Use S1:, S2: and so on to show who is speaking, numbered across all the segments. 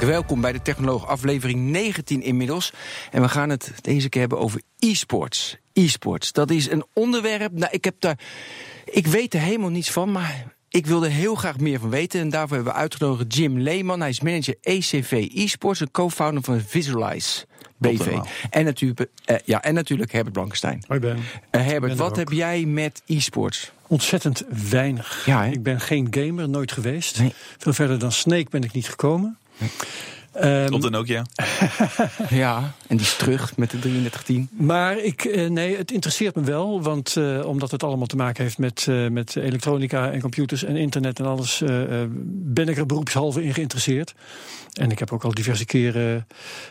S1: Welkom bij de Technoloog, aflevering 19 inmiddels. En we gaan het deze keer hebben over e-sports. E-sports, dat is een onderwerp. Nou, ik, heb daar, ik weet er helemaal niets van, maar ik wilde heel graag meer van weten. En daarvoor hebben we uitgenodigd Jim Leeman. Hij is manager ECV e-sports en co-founder van Visualize. BV. En natuurlijk, eh, ja, en natuurlijk Herbert Blankenstein.
S2: Hoi Oh, Ben.
S1: Eh, Herbert,
S2: er
S1: wat
S2: ook.
S1: heb jij met e-sports?
S2: Ontzettend weinig.
S1: Ja, hè?
S2: ik ben geen gamer, nooit geweest.
S1: Nee.
S2: Veel verder dan Snake ben ik niet gekomen. Ehm,
S3: Op de Nokia.
S1: Ja, en die is terug met de 3310.
S2: maar ik, eh, nee, het interesseert me wel, want eh, omdat het allemaal te maken heeft met, eh, met elektronica en computers en internet en alles, eh, eh, ben ik er beroepshalve in geïnteresseerd. En ik heb ook al diverse keren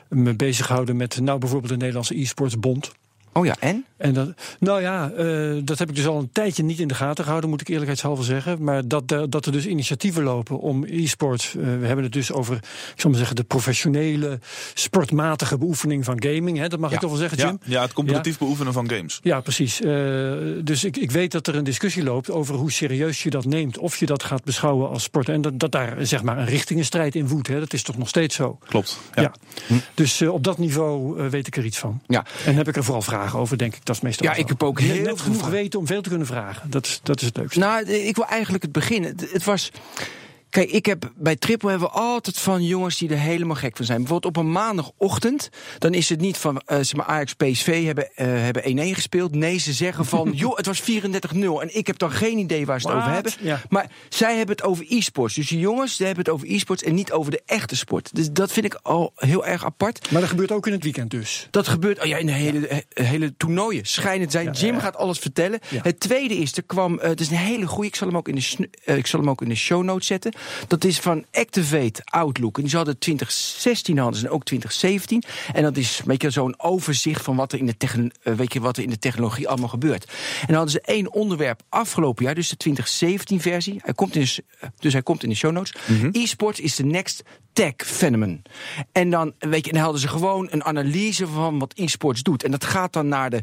S2: me bezig gehouden met, nou bijvoorbeeld de Nederlandse e-sportsbond.
S1: Oh ja, en?
S2: En dat, nou ja, eh, dat heb ik dus al een tijdje niet in de gaten gehouden, moet ik eerlijkheidshalve zeggen. Maar dat, eh, dat er dus initiatieven lopen om e-sport. eh, we hebben het dus over, ik zal maar zeggen, de professionele, sportmatige beoefening van gaming. Hè, dat mag
S1: Ja.
S2: ik toch wel zeggen,
S3: Ja,
S2: Jim?
S3: ja, het competitief beoefenen van games.
S2: Ja, precies. Eh, dus ik, ik weet dat er een discussie loopt over hoe serieus je dat neemt. Of je dat gaat beschouwen als sport. En dat, dat daar eh, zeg maar een richtingenstrijd in woedt. Hè, dat is toch nog steeds zo.
S3: Klopt.
S2: Ja. Dus eh, op dat niveau eh, weet ik er iets van.
S1: Ja.
S2: En heb ik er vooral vragen over, denk ik. Dat is meestal
S1: Ja,
S2: zo.
S1: ik heb ook
S2: Net-
S1: heel veel
S2: net genoeg
S1: vragen.
S2: weten om veel te kunnen vragen. Dat, is- dat is het leukste.
S1: Nou, eh, ik wil eigenlijk het begin. Het, het was. Kijk, ik heb bij Triple hebben we altijd van jongens die er helemaal gek van zijn. Bijvoorbeeld op een maandagochtend, dan is het niet van eh, zeg maar Ajax PSV hebben, eh, hebben 1-1 gespeeld. Nee, ze zeggen van joh, het was 34-0 en ik heb dan geen idee waar ze het
S2: Wat?
S1: over hebben.
S2: Ja.
S1: Maar zij hebben het over e-sports. Dus die jongens, ze hebben het over e-sports en niet over de echte sport. Dus dat vind ik al heel erg apart.
S2: Maar dat gebeurt ook in het weekend dus.
S1: Dat gebeurt oh ja, in de hele, he- hele toernooien. Schijnend zijn.
S2: Ja,
S1: Jim
S2: ja, ja.
S1: gaat alles vertellen.
S2: Ja.
S1: Het tweede is, er kwam, eh, het is een hele goeie. Ik zal hem ook in de, snu- eh, ik zal hem ook in de show notes zetten. Dat is van Activate Outlook. En die hadden 2016 hadden ze en ook 2017. En dat is weet je, zo'n overzicht van wat er, in de techno- eh, weet je, wat er in de technologie allemaal gebeurt. En dan hadden ze één onderwerp afgelopen jaar, dus de 2017 versie. Hij komt in de, s- eh, dus hij komt in de show notes.
S2: Mhm.
S1: E-sports is de next tech phenomenon. En dan, weet je, en dan hadden ze gewoon een analyse van wat e-sports doet. En dat gaat dan naar de,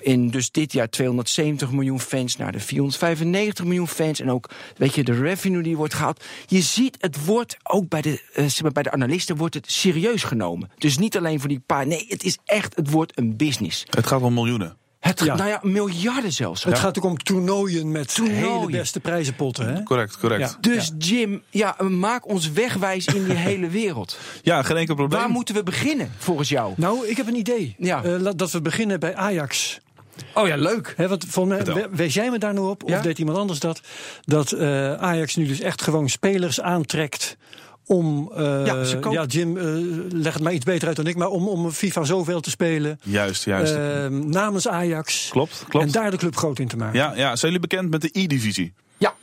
S1: in dus dit jaar 270 miljoen fans, naar de 495 miljoen fans. En ook, weet je, de revenue die wordt gehaald. Je ziet, het wordt ook bij de, eh, zeg maar, bij de analisten wordt het serieus genomen. Dus niet alleen voor die paar, nee, het is echt, het wordt een business.
S3: Het gaat om miljoenen.
S1: Het,
S2: Ja.
S1: Nou ja, miljarden zelfs.
S2: Het gaat ook om toernooien met
S1: Toernooien.
S2: hele beste prijzenpotten. Hè?
S3: Correct, correct.
S2: Ja.
S1: Dus Jim, ja, maak ons wegwijs in die hele wereld.
S3: Ja, geen enkel probleem.
S1: Waar moeten we beginnen, volgens jou?
S2: Nou, ik heb een idee.
S1: Ja.
S2: Eh, laat- dat we beginnen bij Ajax.
S1: Oh ja, leuk.
S2: Hè, want volgens mij,
S3: Vertel.
S2: we- wees jij me daar nou op, of
S1: Ja?
S2: deed iemand anders dat? Dat eh, Ajax nu dus echt gewoon spelers aantrekt om... eh,
S1: Ja, ze kopen-
S2: ja, Jim, eh, leg het maar iets beter uit dan ik, maar om, om FIFA zoveel te spelen.
S3: Juist, juist.
S2: eh, namens Ajax.
S3: Klopt, klopt.
S2: En daar de club groot in te maken.
S3: ja, ja, zijn jullie bekend met de E-divisie?
S1: Ja.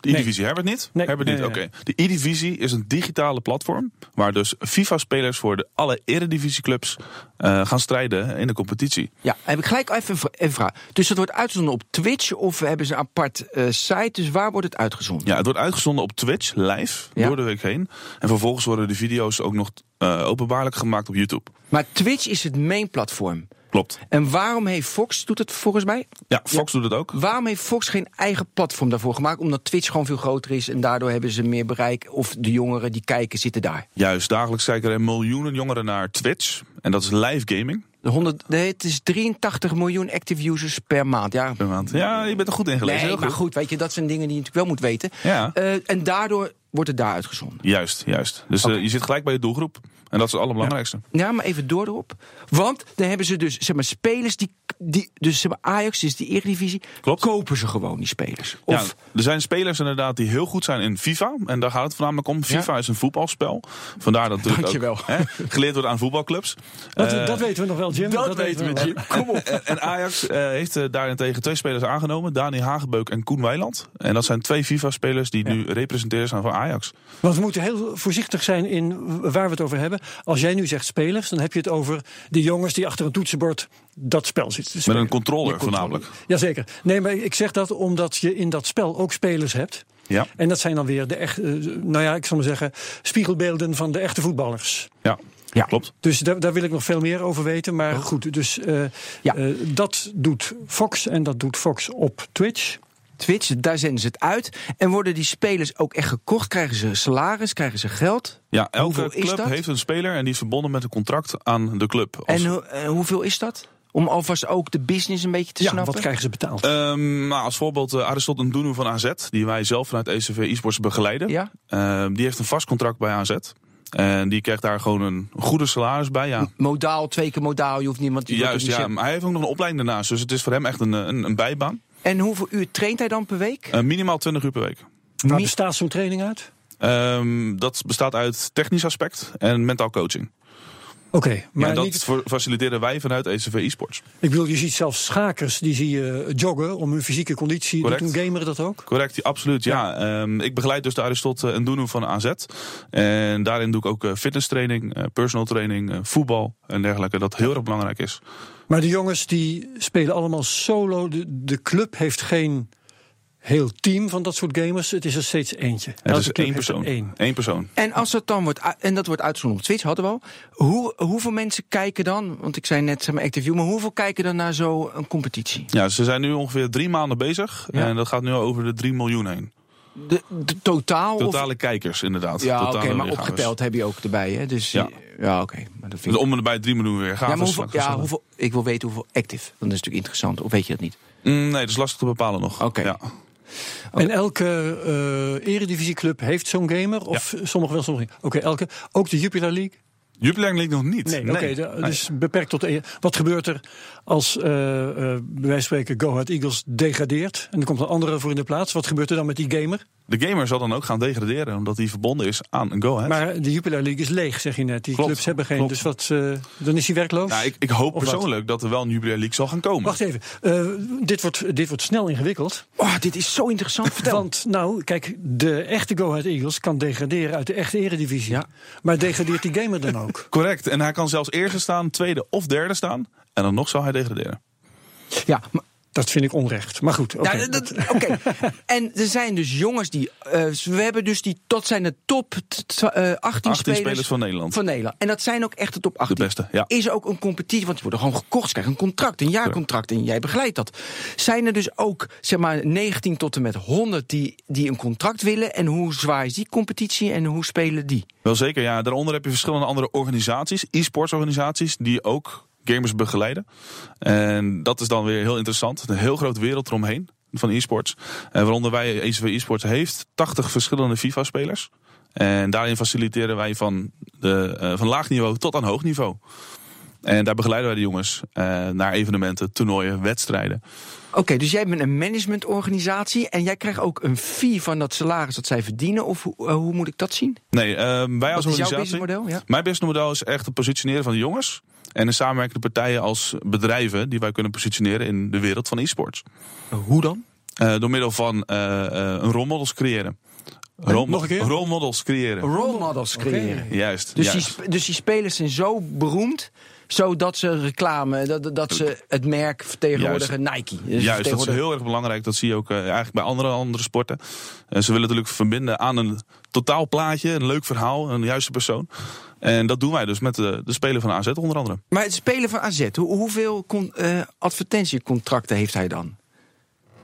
S3: De E-divisie, Herbert niet?
S2: Nee.
S3: Herbert niet,
S2: Nee,
S3: oké.
S2: nee,
S3: De E-divisie is een digitale platform waar dus FIFA-spelers voor de alle eredivisieclubs eh gaan strijden in de competitie.
S1: Ja, heb ik gelijk even een vra- een vraag. Dus dat wordt uitgezonden op Twitch of hebben ze een apart eh, site? Dus waar wordt het uitgezonden?
S3: Ja, het wordt uitgezonden op Twitch, live,
S1: Ja.
S3: door de week heen. En vervolgens worden de video's ook nog eh, openbaarlijk gemaakt op YouTube.
S1: Maar Twitch is het main platform.
S3: Klopt.
S1: En waarom heeft Fox, doet het volgens mij,
S3: Ja, Fox doet het ook.
S1: waarom heeft Fox geen eigen platform daarvoor gemaakt? Omdat Twitch gewoon veel groter is en daardoor hebben ze meer bereik. Of de jongeren die kijken zitten daar.
S3: Juist, dagelijks kijken er miljoenen jongeren naar Twitch. En dat is live gaming.
S1: De 100, nee, het is 83 miljoen active users per maand. Ja,
S3: Per maand. Ja, je bent er goed in gelezen.
S1: nee,
S3: Heel
S1: maar goed, weet je, dat zijn dingen die je natuurlijk wel moet weten.
S3: Ja.
S1: Eh, en daardoor wordt het daar uitgezonden.
S3: Juist, juist. Dus eh, je zit gelijk bij je doelgroep. En dat is het allerbelangrijkste.
S1: Ja, maar even door erop. Want dan hebben ze dus zeg maar, spelers die. die dus zeg maar, Ajax is die Eredivisie.
S3: Klopt.
S1: Kopen ze gewoon die spelers.
S3: Ja,
S1: Of,
S3: er zijn spelers inderdaad die heel goed zijn in FIFA. En daar gaat het voornamelijk om. FIFA is een voetbalspel. Vandaar dat natuurlijk
S1: Dankjewel.
S3: ook hè, geleerd wordt aan voetbalclubs.
S2: Dat,
S3: Eh,
S2: dat weten we nog wel, Jim.
S1: dat, weten we,
S2: nog wel.
S1: Jim. Kom op.
S3: En, en Ajax eh, heeft eh, daarentegen twee spelers aangenomen. Dani Hagebeuk en Koen Weiland. En dat zijn twee FIFA-spelers die nu representeren zijn van Ajax.
S2: Want we moeten heel voorzichtig zijn in waar we het over hebben. Als jij nu zegt spelers, dan heb je het over de jongens die achter een toetsenbord dat spel zitten. te
S3: Met
S2: spelen.
S3: een controller
S2: Die controle.
S3: voornamelijk.
S2: Jazeker. Nee, maar ik zeg dat omdat je in dat spel ook spelers hebt.
S3: Ja,
S2: En dat zijn dan weer de echt, eh, nou ja, ik zal maar zeggen, spiegelbeelden van de echte voetballers.
S3: ja.
S1: Ja.
S3: klopt.
S2: Dus daar, daar wil ik nog veel meer over weten. Maar
S3: Oh.
S2: goed, dus eh,
S1: Ja.
S2: eh, dat doet Fox en dat doet Fox op Twitch.
S1: Twitch, daar zenden ze het uit. En worden die spelers ook echt gekocht? Krijgen ze salaris? Krijgen ze geld?
S3: Ja, elke
S1: Hoeveel is
S3: club
S1: dat?
S3: heeft een speler en die is verbonden met een contract aan de club. Als-
S1: En hoe- eh, hoeveel is dat? Om alvast ook de business een beetje te
S2: ja,
S1: snappen.
S2: wat krijgen ze betaald?
S3: Ehm, nou, als voorbeeld eh, Aristotle Ndunu van AZ, die wij zelf vanuit ECV eSports begeleiden.
S1: Ja?
S3: Ehm, die heeft een vast contract bij AZ. En die krijgt daar gewoon een goede salaris bij. Ja,
S1: Modaal, twee keer modaal. Je hoeft niemand je wordt
S3: Juist,
S1: ook
S3: ja.
S1: niet
S3: Maar hij heeft ook nog een opleiding daarnaast. Dus het is voor hem echt een, eh, een, een bijbaan.
S1: zet- En hoeveel uur traint hij dan per week?
S3: Eh, minimaal 20 uur per week.
S2: Waar
S1: mi-
S2: bestaat zo'n training uit?
S3: Ehm, dat bestaat uit technisch aspect en mentaal coaching.
S2: Oké,
S3: Maar
S2: maar
S3: dat
S2: niet,
S3: voor- faciliteren wij vanuit ECV eSports.
S2: ik bedoel, je ziet zelfs schakers die zie je joggen om hun fysieke conditie.
S3: Correct.
S2: Doet een gamer dat ook?
S3: Correct, ja, absoluut. Ja. Ehm, ik begeleid dus de Aristotle Ndunu van AZ. En daarin doe ik ook eh, fitness training, eh, personal training, eh, voetbal en dergelijke. Dat heel erg belangrijk is.
S2: Maar de jongens die spelen allemaal solo. De, de club heeft geen heel team van dat soort gamers. Het is er steeds eentje.
S3: Het
S2: Elke
S3: is
S2: club
S3: één
S2: dus heeft er
S3: persoon.
S2: één.
S3: Eén persoon.
S1: En als dat dan wordt, u- en dat wordt uitgezonden op Twitch, hadden we al. Hoe, hoeveel mensen kijken dan? Want ik zei net, zeg maar, Active maar hoeveel kijken dan naar zo'n competitie?
S3: Ja, ze zijn nu ongeveer drie maanden bezig.
S1: Ja.
S3: En dat gaat nu al over de 3 miljoen heen.
S1: De, de totaal?
S3: Totale kijkers, inderdaad.
S1: of, ja, oké,
S3: Totale
S1: maar
S3: weergaves.
S1: opgeteld heb je ook erbij, hè? Dus
S3: Ja.
S1: ja, oké. maar dat vind
S3: Dus
S1: ik.
S3: om en bij 3 miljoen weer
S1: Ja,
S3: gaan.
S1: maar hoeveel, ja, hoeveel, ik wil weten hoeveel active. Want dat is natuurlijk interessant, of weet je dat niet?
S3: Mm, nee, dat is lastig te bepalen nog.
S1: Oké.
S3: Ja.
S2: En elke eh eredivisieclub heeft zo'n gamer? Of sommige wel, sommige niet? Oké, elke. Ook de Jupiler League?
S3: Jupiler League nog niet.
S2: Nee, oké. de- Dus beperkt tot... de- Wat gebeurt er als, eh, eh, bij wijze van spreken, Go Ahead Eagles degradeert... en er komt een andere voor in de plaats? Wat gebeurt er dan met die gamer?
S3: De gamer zal dan ook gaan degraderen, omdat hij verbonden is aan een go-ahead.
S2: Maar de Jupiler League is leeg, zeg je net. Die
S3: Klopt,
S2: clubs hebben geen...
S3: klopt.
S2: Dus wat, eh, dan is hij werkloos?
S3: Nou, ik, ik hoop
S2: Of wat?
S3: persoonlijk dat er wel een Jubilair League zal gaan komen.
S2: Wacht even, eh, dit, wordt, dit wordt snel ingewikkeld.
S1: Oh, dit is zo interessant, vertel.
S2: Want nou, kijk, de echte Go Ahead Eagles kan degraderen uit de echte eredivisie.
S1: Ja.
S2: Maar degradeert die gamer dan ook?
S3: Correct. En hij kan zelfs eerder staan, tweede of derde staan. En dan nog zal hij degraderen.
S1: ja, maar,
S2: Dat vind ik onrecht. Maar goed, oké.
S1: nou, dat- oké. en er zijn dus jongens die, eh, we hebben dus die, tot zijn de top t- t- eh, 18,
S3: 18 spelers,
S1: spelers,
S3: van Nederland.
S1: van Nederland. En dat zijn ook echt de top 18.
S3: De beste, ja.
S1: Is er ook een competitie, want die worden gewoon gekocht. Ze krijgen een contract, een jaarcontract en jij begeleidt dat. Zijn er dus ook, zeg maar, 19 tot en met 100 die, die een contract willen? En hoe zwaar is die competitie en hoe spelen die?
S3: Wel zeker, ja. Daaronder heb je verschillende andere organisaties, e-sports organisaties, die ook gamers begeleiden. En dat is dan weer heel interessant. Een heel groot wereld eromheen van e-sports. En waaronder wij, E ECV e-sports, heeft 80 verschillende FIFA-spelers. En daarin faciliteren wij van, de, eh, van laag niveau tot aan hoog niveau. En daar begeleiden wij de jongens eh, naar evenementen, toernooien, wedstrijden.
S1: Oké, dus jij bent een managementorganisatie en jij krijgt ook een fee van dat salaris dat zij verdienen? Of hoe, eh, hoe moet ik dat zien?
S3: Nee, ehm, wij als
S1: Wat is jouw
S3: organisatie.
S1: businessmodel? Ja.
S3: Mijn businessmodel is echt het positioneren van de jongens. En de samenwerkende partijen als bedrijven die wij kunnen positioneren in de wereld van e-sports.
S1: Hoe dan?
S3: Eh, door middel van eh, eh, een rolmodels creëren. Rol-
S2: Eh, nog een keer? Oh,
S3: Rolmodels creëren.
S1: Role models creëren.
S3: Juist.
S1: Dus, die,
S3: juist.
S1: sp- dus die spelers zijn zo beroemd, zodat ze reclame, dat, dat ze het merk vertegenwoordigen Nike. Dus ze
S3: Juist, dat is
S1: vertegenwoordigen-
S3: heel erg belangrijk. Dat zie je ook eh, eigenlijk bij andere, andere sporten. Eh, ze willen natuurlijk verbinden aan een totaal plaatje, een leuk verhaal, een juiste persoon. En dat doen wij dus met de, de speler van AZ onder andere.
S1: Maar het spelen van AZ, hoe- hoeveel con- eh, advertentiecontracten heeft hij dan?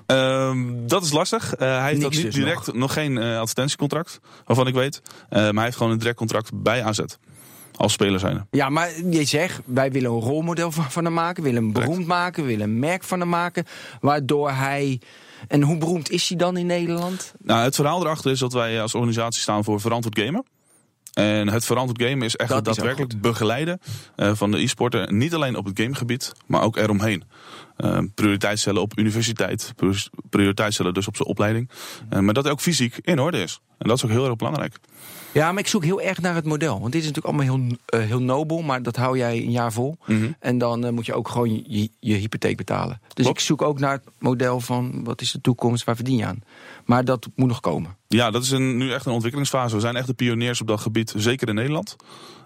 S3: Ehm, dat is lastig. Eh, hij heeft
S1: Niks
S3: dat
S1: dus
S3: niet direct, nog, geen eh, advertentiecontract, waarvan ik weet. Eh, maar hij heeft gewoon een direct contract bij AZ. Als speler zijn.
S1: Ja, maar je zegt, wij willen een rolmodel van, van hem maken, willen hem
S3: Correct.
S1: beroemd maken, willen een merk van hem maken, waardoor hij... En hoe beroemd is hij dan in Nederland?
S3: Nou, het verhaal erachter is dat wij als organisatie staan voor verantwoord gamen. En het verantwoord gamen is echt
S1: Dat
S3: het
S1: is ook
S3: daadwerkelijk begeleiden eh, van de e-sporter. Niet alleen op het gamegebied, maar ook eromheen. Eh, prioriteit stellen op universiteit. prior- Prioriteit stellen dus op zijn opleiding. Eh, maar dat hij ook fysiek in orde is. En dat is ook heel erg belangrijk.
S1: Ja, maar ik zoek heel erg naar het model. Want dit is natuurlijk allemaal heel, eh, heel nobel, maar dat hou jij een jaar vol. En dan eh, moet je ook gewoon je, je hypotheek betalen. Dus
S3: Klopt.
S1: ik zoek ook naar het model van wat is de toekomst, waar verdien je aan? Maar dat moet nog komen.
S3: Ja, dat is een, nu echt een ontwikkelingsfase. We zijn echt de pioniers op dat gebied, zeker in Nederland.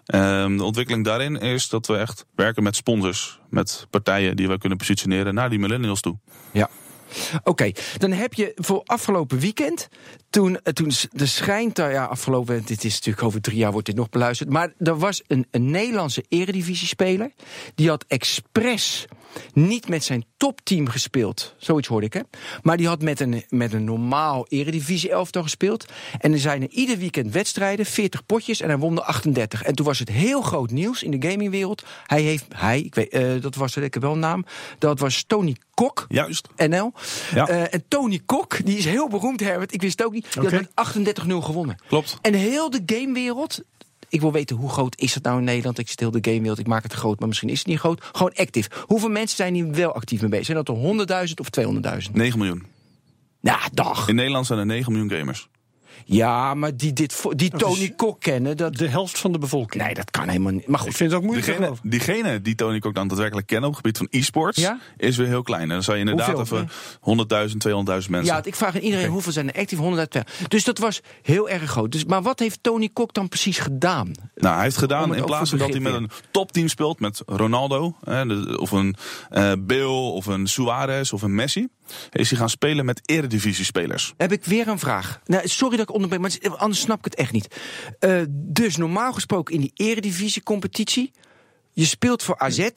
S3: Ehm, de ontwikkeling daarin is dat we echt werken met sponsors. Met partijen die wij kunnen positioneren naar die millennials toe.
S1: Ja. Oké, dan heb je voor afgelopen weekend, toen, eh, toen s- de schijntaar, ja afgelopen, dit is natuurlijk over drie jaar wordt dit nog beluisterd, maar er was een, een Nederlandse eredivisiespeler, die had expres niet met zijn topteam gespeeld, zoiets hoorde ik hè, maar die had met een, met een normaal eredivisie elftal gespeeld en er zijn er ieder weekend wedstrijden, 40 potjes en hij won er 38. En toen was het heel groot nieuws in de gamingwereld, hij heeft, hij, ik weet, eh, dat was, ik heb wel een naam, dat was Tony Kok.
S3: Juist.
S1: NL.
S3: Ja.
S1: Eh, en Tony Kok, die is heel beroemd, Herbert. Ik wist het ook niet. Die
S2: Oké.
S1: had met 38-0 gewonnen.
S3: Klopt.
S1: En heel de gamewereld. Ik wil weten hoe groot is dat nou in Nederland? Ik zit heel de gamewereld, ik maak het groot, maar misschien is het niet groot. Gewoon actief. Hoeveel mensen zijn hier wel actief mee bezig? Zijn dat er 100.000 of 200.000?
S3: 9 miljoen.
S1: Nou, dag.
S3: In Nederland zijn er 9 miljoen gamers.
S1: Ja, maar die, dit, vo- die Tony
S2: is-
S1: Kok kennen, dat.
S2: De helft van de bevolking.
S1: Nee, dat kan helemaal niet. Maar
S2: Ik
S1: goed.
S2: vind het ook moeilijk te
S3: Diegene,
S2: geloven.
S3: diegene die Tony Kok dan daadwerkelijk kennen op het gebied van e-sports,
S1: Ja?
S3: is weer heel klein. En dan zou je inderdaad
S1: Hoeveel?
S3: even 100.000, 200.000 mensen.
S1: Ja, ik vraag aan iedereen
S3: Oké.
S1: hoeveel zijn er actief? 100.000. Dus dat was heel erg groot. Dus, maar wat heeft Tony Kok dan precies gedaan?
S3: Nou, hij heeft
S1: Om
S3: gedaan
S1: het
S3: in
S1: ook
S3: plaats
S1: voor
S3: van dat hij met
S1: begrip
S3: een topteam speelt met Ronaldo, hè, de- of een eh Bill, of een Suarez, of een Messi, is hij gaan spelen met eredivisiespelers.
S1: Heb ik weer een vraag. Nou, sorry dat ik onderbreek, maar het is- anders snap ik het echt niet. Eh, dus normaal gesproken in die eredivisie-competitie... je speelt voor AZ...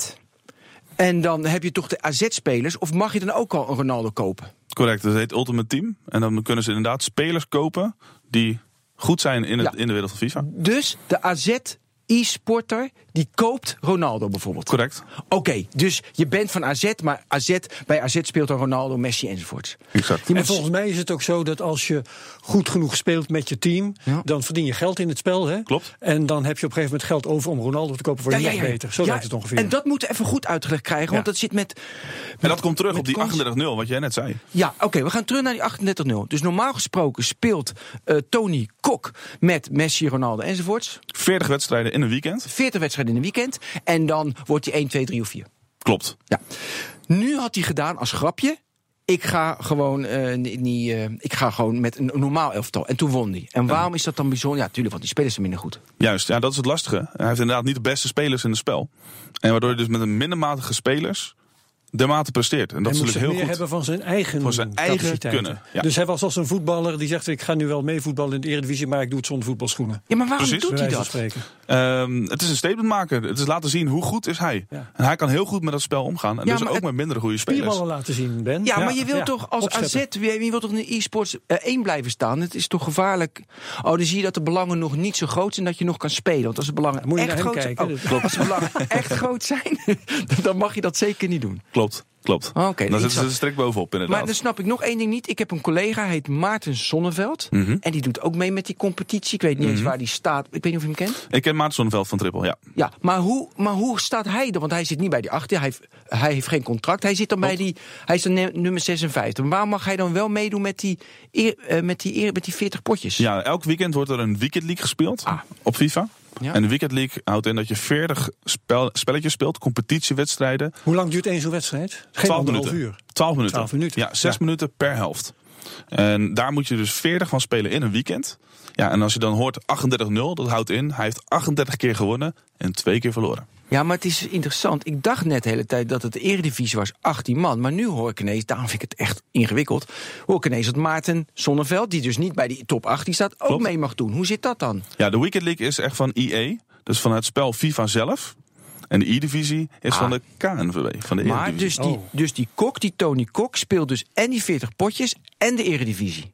S1: en dan heb je toch de AZ-spelers... of mag je dan ook al een Ronaldo kopen?
S3: Correct, dat heet Ultimate Team. En dan kunnen ze inderdaad spelers kopen die goed zijn in, het,
S1: Ja.
S3: in de wereld van FIFA.
S1: Dus de AZ-e-sporter die koopt Ronaldo bijvoorbeeld.
S3: Correct.
S1: Oké, dus je bent van AZ, maar AZ, bij AZ speelt dan Ronaldo, Messi enzovoorts.
S3: Exact.
S1: Je
S2: En
S1: moet-
S2: volgens mij is het ook zo dat als je goed genoeg speelt met je team,
S1: Ja.
S2: dan verdien je geld in het spel. Hè?
S3: Klopt.
S2: En dan heb je op een gegeven moment geld over om Ronaldo te kopen voor je nog beter. Zo
S1: Ja,
S2: lijkt het ongeveer.
S1: En dat moeten we even goed uitgelegd krijgen, want
S2: Ja.
S1: dat zit met...
S3: En dat komt terug
S1: met
S3: op die
S1: kans.
S3: 38-0, wat jij net zei.
S1: Ja, oké, we gaan terug naar die 38-0. Dus normaal gesproken speelt eh, Tony Kok met Messi, Ronaldo enzovoorts.
S3: 40 wedstrijden in een weekend.
S1: 40 wedstrijden in een weekend. En dan wordt hij 1, 2, 3 of 4.
S3: Klopt.
S1: Ja. Nu had hij gedaan als grapje. Ik ga gewoon, eh, niet, niet, eh, ik ga gewoon met een normaal elftal. En toen won hij. En waarom is dat dan bijzonder? Ja, tuurlijk, want die spelers zijn minder goed.
S3: Juist, ja, dat is het lastige. Hij heeft inderdaad niet de beste spelers in het spel. En waardoor je dus met een mindermatige spelers de mate presteert. En dat is
S2: hij moet
S3: natuurlijk
S2: zich
S3: heel
S2: meer
S3: goed.
S2: hebben van zijn eigen
S3: Van zijn eigen
S2: capaciteiten.
S3: kunnen, ja.
S2: Dus hij was als een voetballer die zegt: ik ga nu wel mee voetballen in de Eredivisie, maar ik doe het zonder voetbalschoenen.
S1: Ja, maar waarom
S3: Precies,
S1: doet
S2: Bij
S1: hij
S2: wijze van
S1: dat?
S2: spreken.
S3: Ehm, het is een statement maken. Het is laten zien hoe goed is hij.
S2: Ja.
S3: En hij kan heel goed met dat spel omgaan. En
S1: Ja,
S3: dus
S1: maar
S3: ook
S1: het-
S3: met minder goede spelers.
S2: Spierballen laten zien, Ben.
S1: Ja, maar je wilt
S2: ja.
S1: toch als
S2: Opscheppen.
S1: AZ, je je wilt toch in de e-sports eh, één blijven staan? Het is toch gevaarlijk? Oh, dan zie je dat de belangen nog niet zo groot zijn dat je nog kan spelen. Want als de belangen
S2: Moet je
S1: echt
S2: naar hem
S1: groot zijn,
S2: kijken, dus.
S1: oh, als de belangen echt groot zijn, dan mag je dat zeker niet doen.
S3: Klopt, klopt. Nou,
S1: Oh,
S3: Dan
S1: oké,
S3: Daar zitten
S1: interessant.
S3: ze strikt bovenop inderdaad.
S1: Maar dus- dan snap ik nog één ding niet. Ik heb een collega, hij heet Maarten Sonneveld.
S2: Mhm.
S1: En die doet ook mee met die competitie. Ik weet niet eens waar die staat. Ik weet niet of je hem kent.
S3: Ik ken Maarten Zonneveld van Triple, ja.
S1: Ja, maar hoe, maar hoe staat hij dan? Want hij zit niet bij die achter. Hij, heeft- hij heeft geen contract. Hij zit dan bij die. Hij is dan ne- nummer 56. Maar Waar mag hij dan wel meedoen met die, eer- eh, met die, eer- met die 40 potjes?
S3: Ja, elk weekend wordt er een Weekend League gespeeld
S1: Ah.
S3: op FIFA.
S1: Ja.
S3: En de Weekend League houdt in dat je 40 spel- spelletjes speelt, competitiewedstrijden.
S2: Hoe lang duurt één zo'n wedstrijd? Geen
S3: 12
S2: anderhalf
S3: minuten.
S2: uur.
S3: 12 minuten.
S2: 12 minuten.
S3: Ja, 6
S2: Ja.
S3: minuten per helft. En daar moet je dus 40 van spelen in een weekend. Ja, en als je dan hoort 38-0, dat houdt in, hij heeft 38 keer gewonnen en twee keer verloren.
S1: Ja, maar het is interessant. Ik dacht net de hele tijd dat het de Eredivisie was, 18 man. Maar nu hoor ik ineens, daarom vind ik het echt ingewikkeld... hoor ik ineens dat Maarten Sonneveld, die dus niet bij die top 18 staat... ook
S3: Klopt.
S1: mee mag doen. Hoe zit dat dan?
S3: Ja, de Weekend League is echt van EA, dus van het spel FIFA zelf. En de E-divisie is
S1: Ah.
S3: van de KNVB, van de
S1: Maar
S3: Eredivisie.
S1: dus die,
S2: Oh.
S1: dus die kok, die Tony Kok, speelt dus en die 40 potjes en de Eredivisie. dus-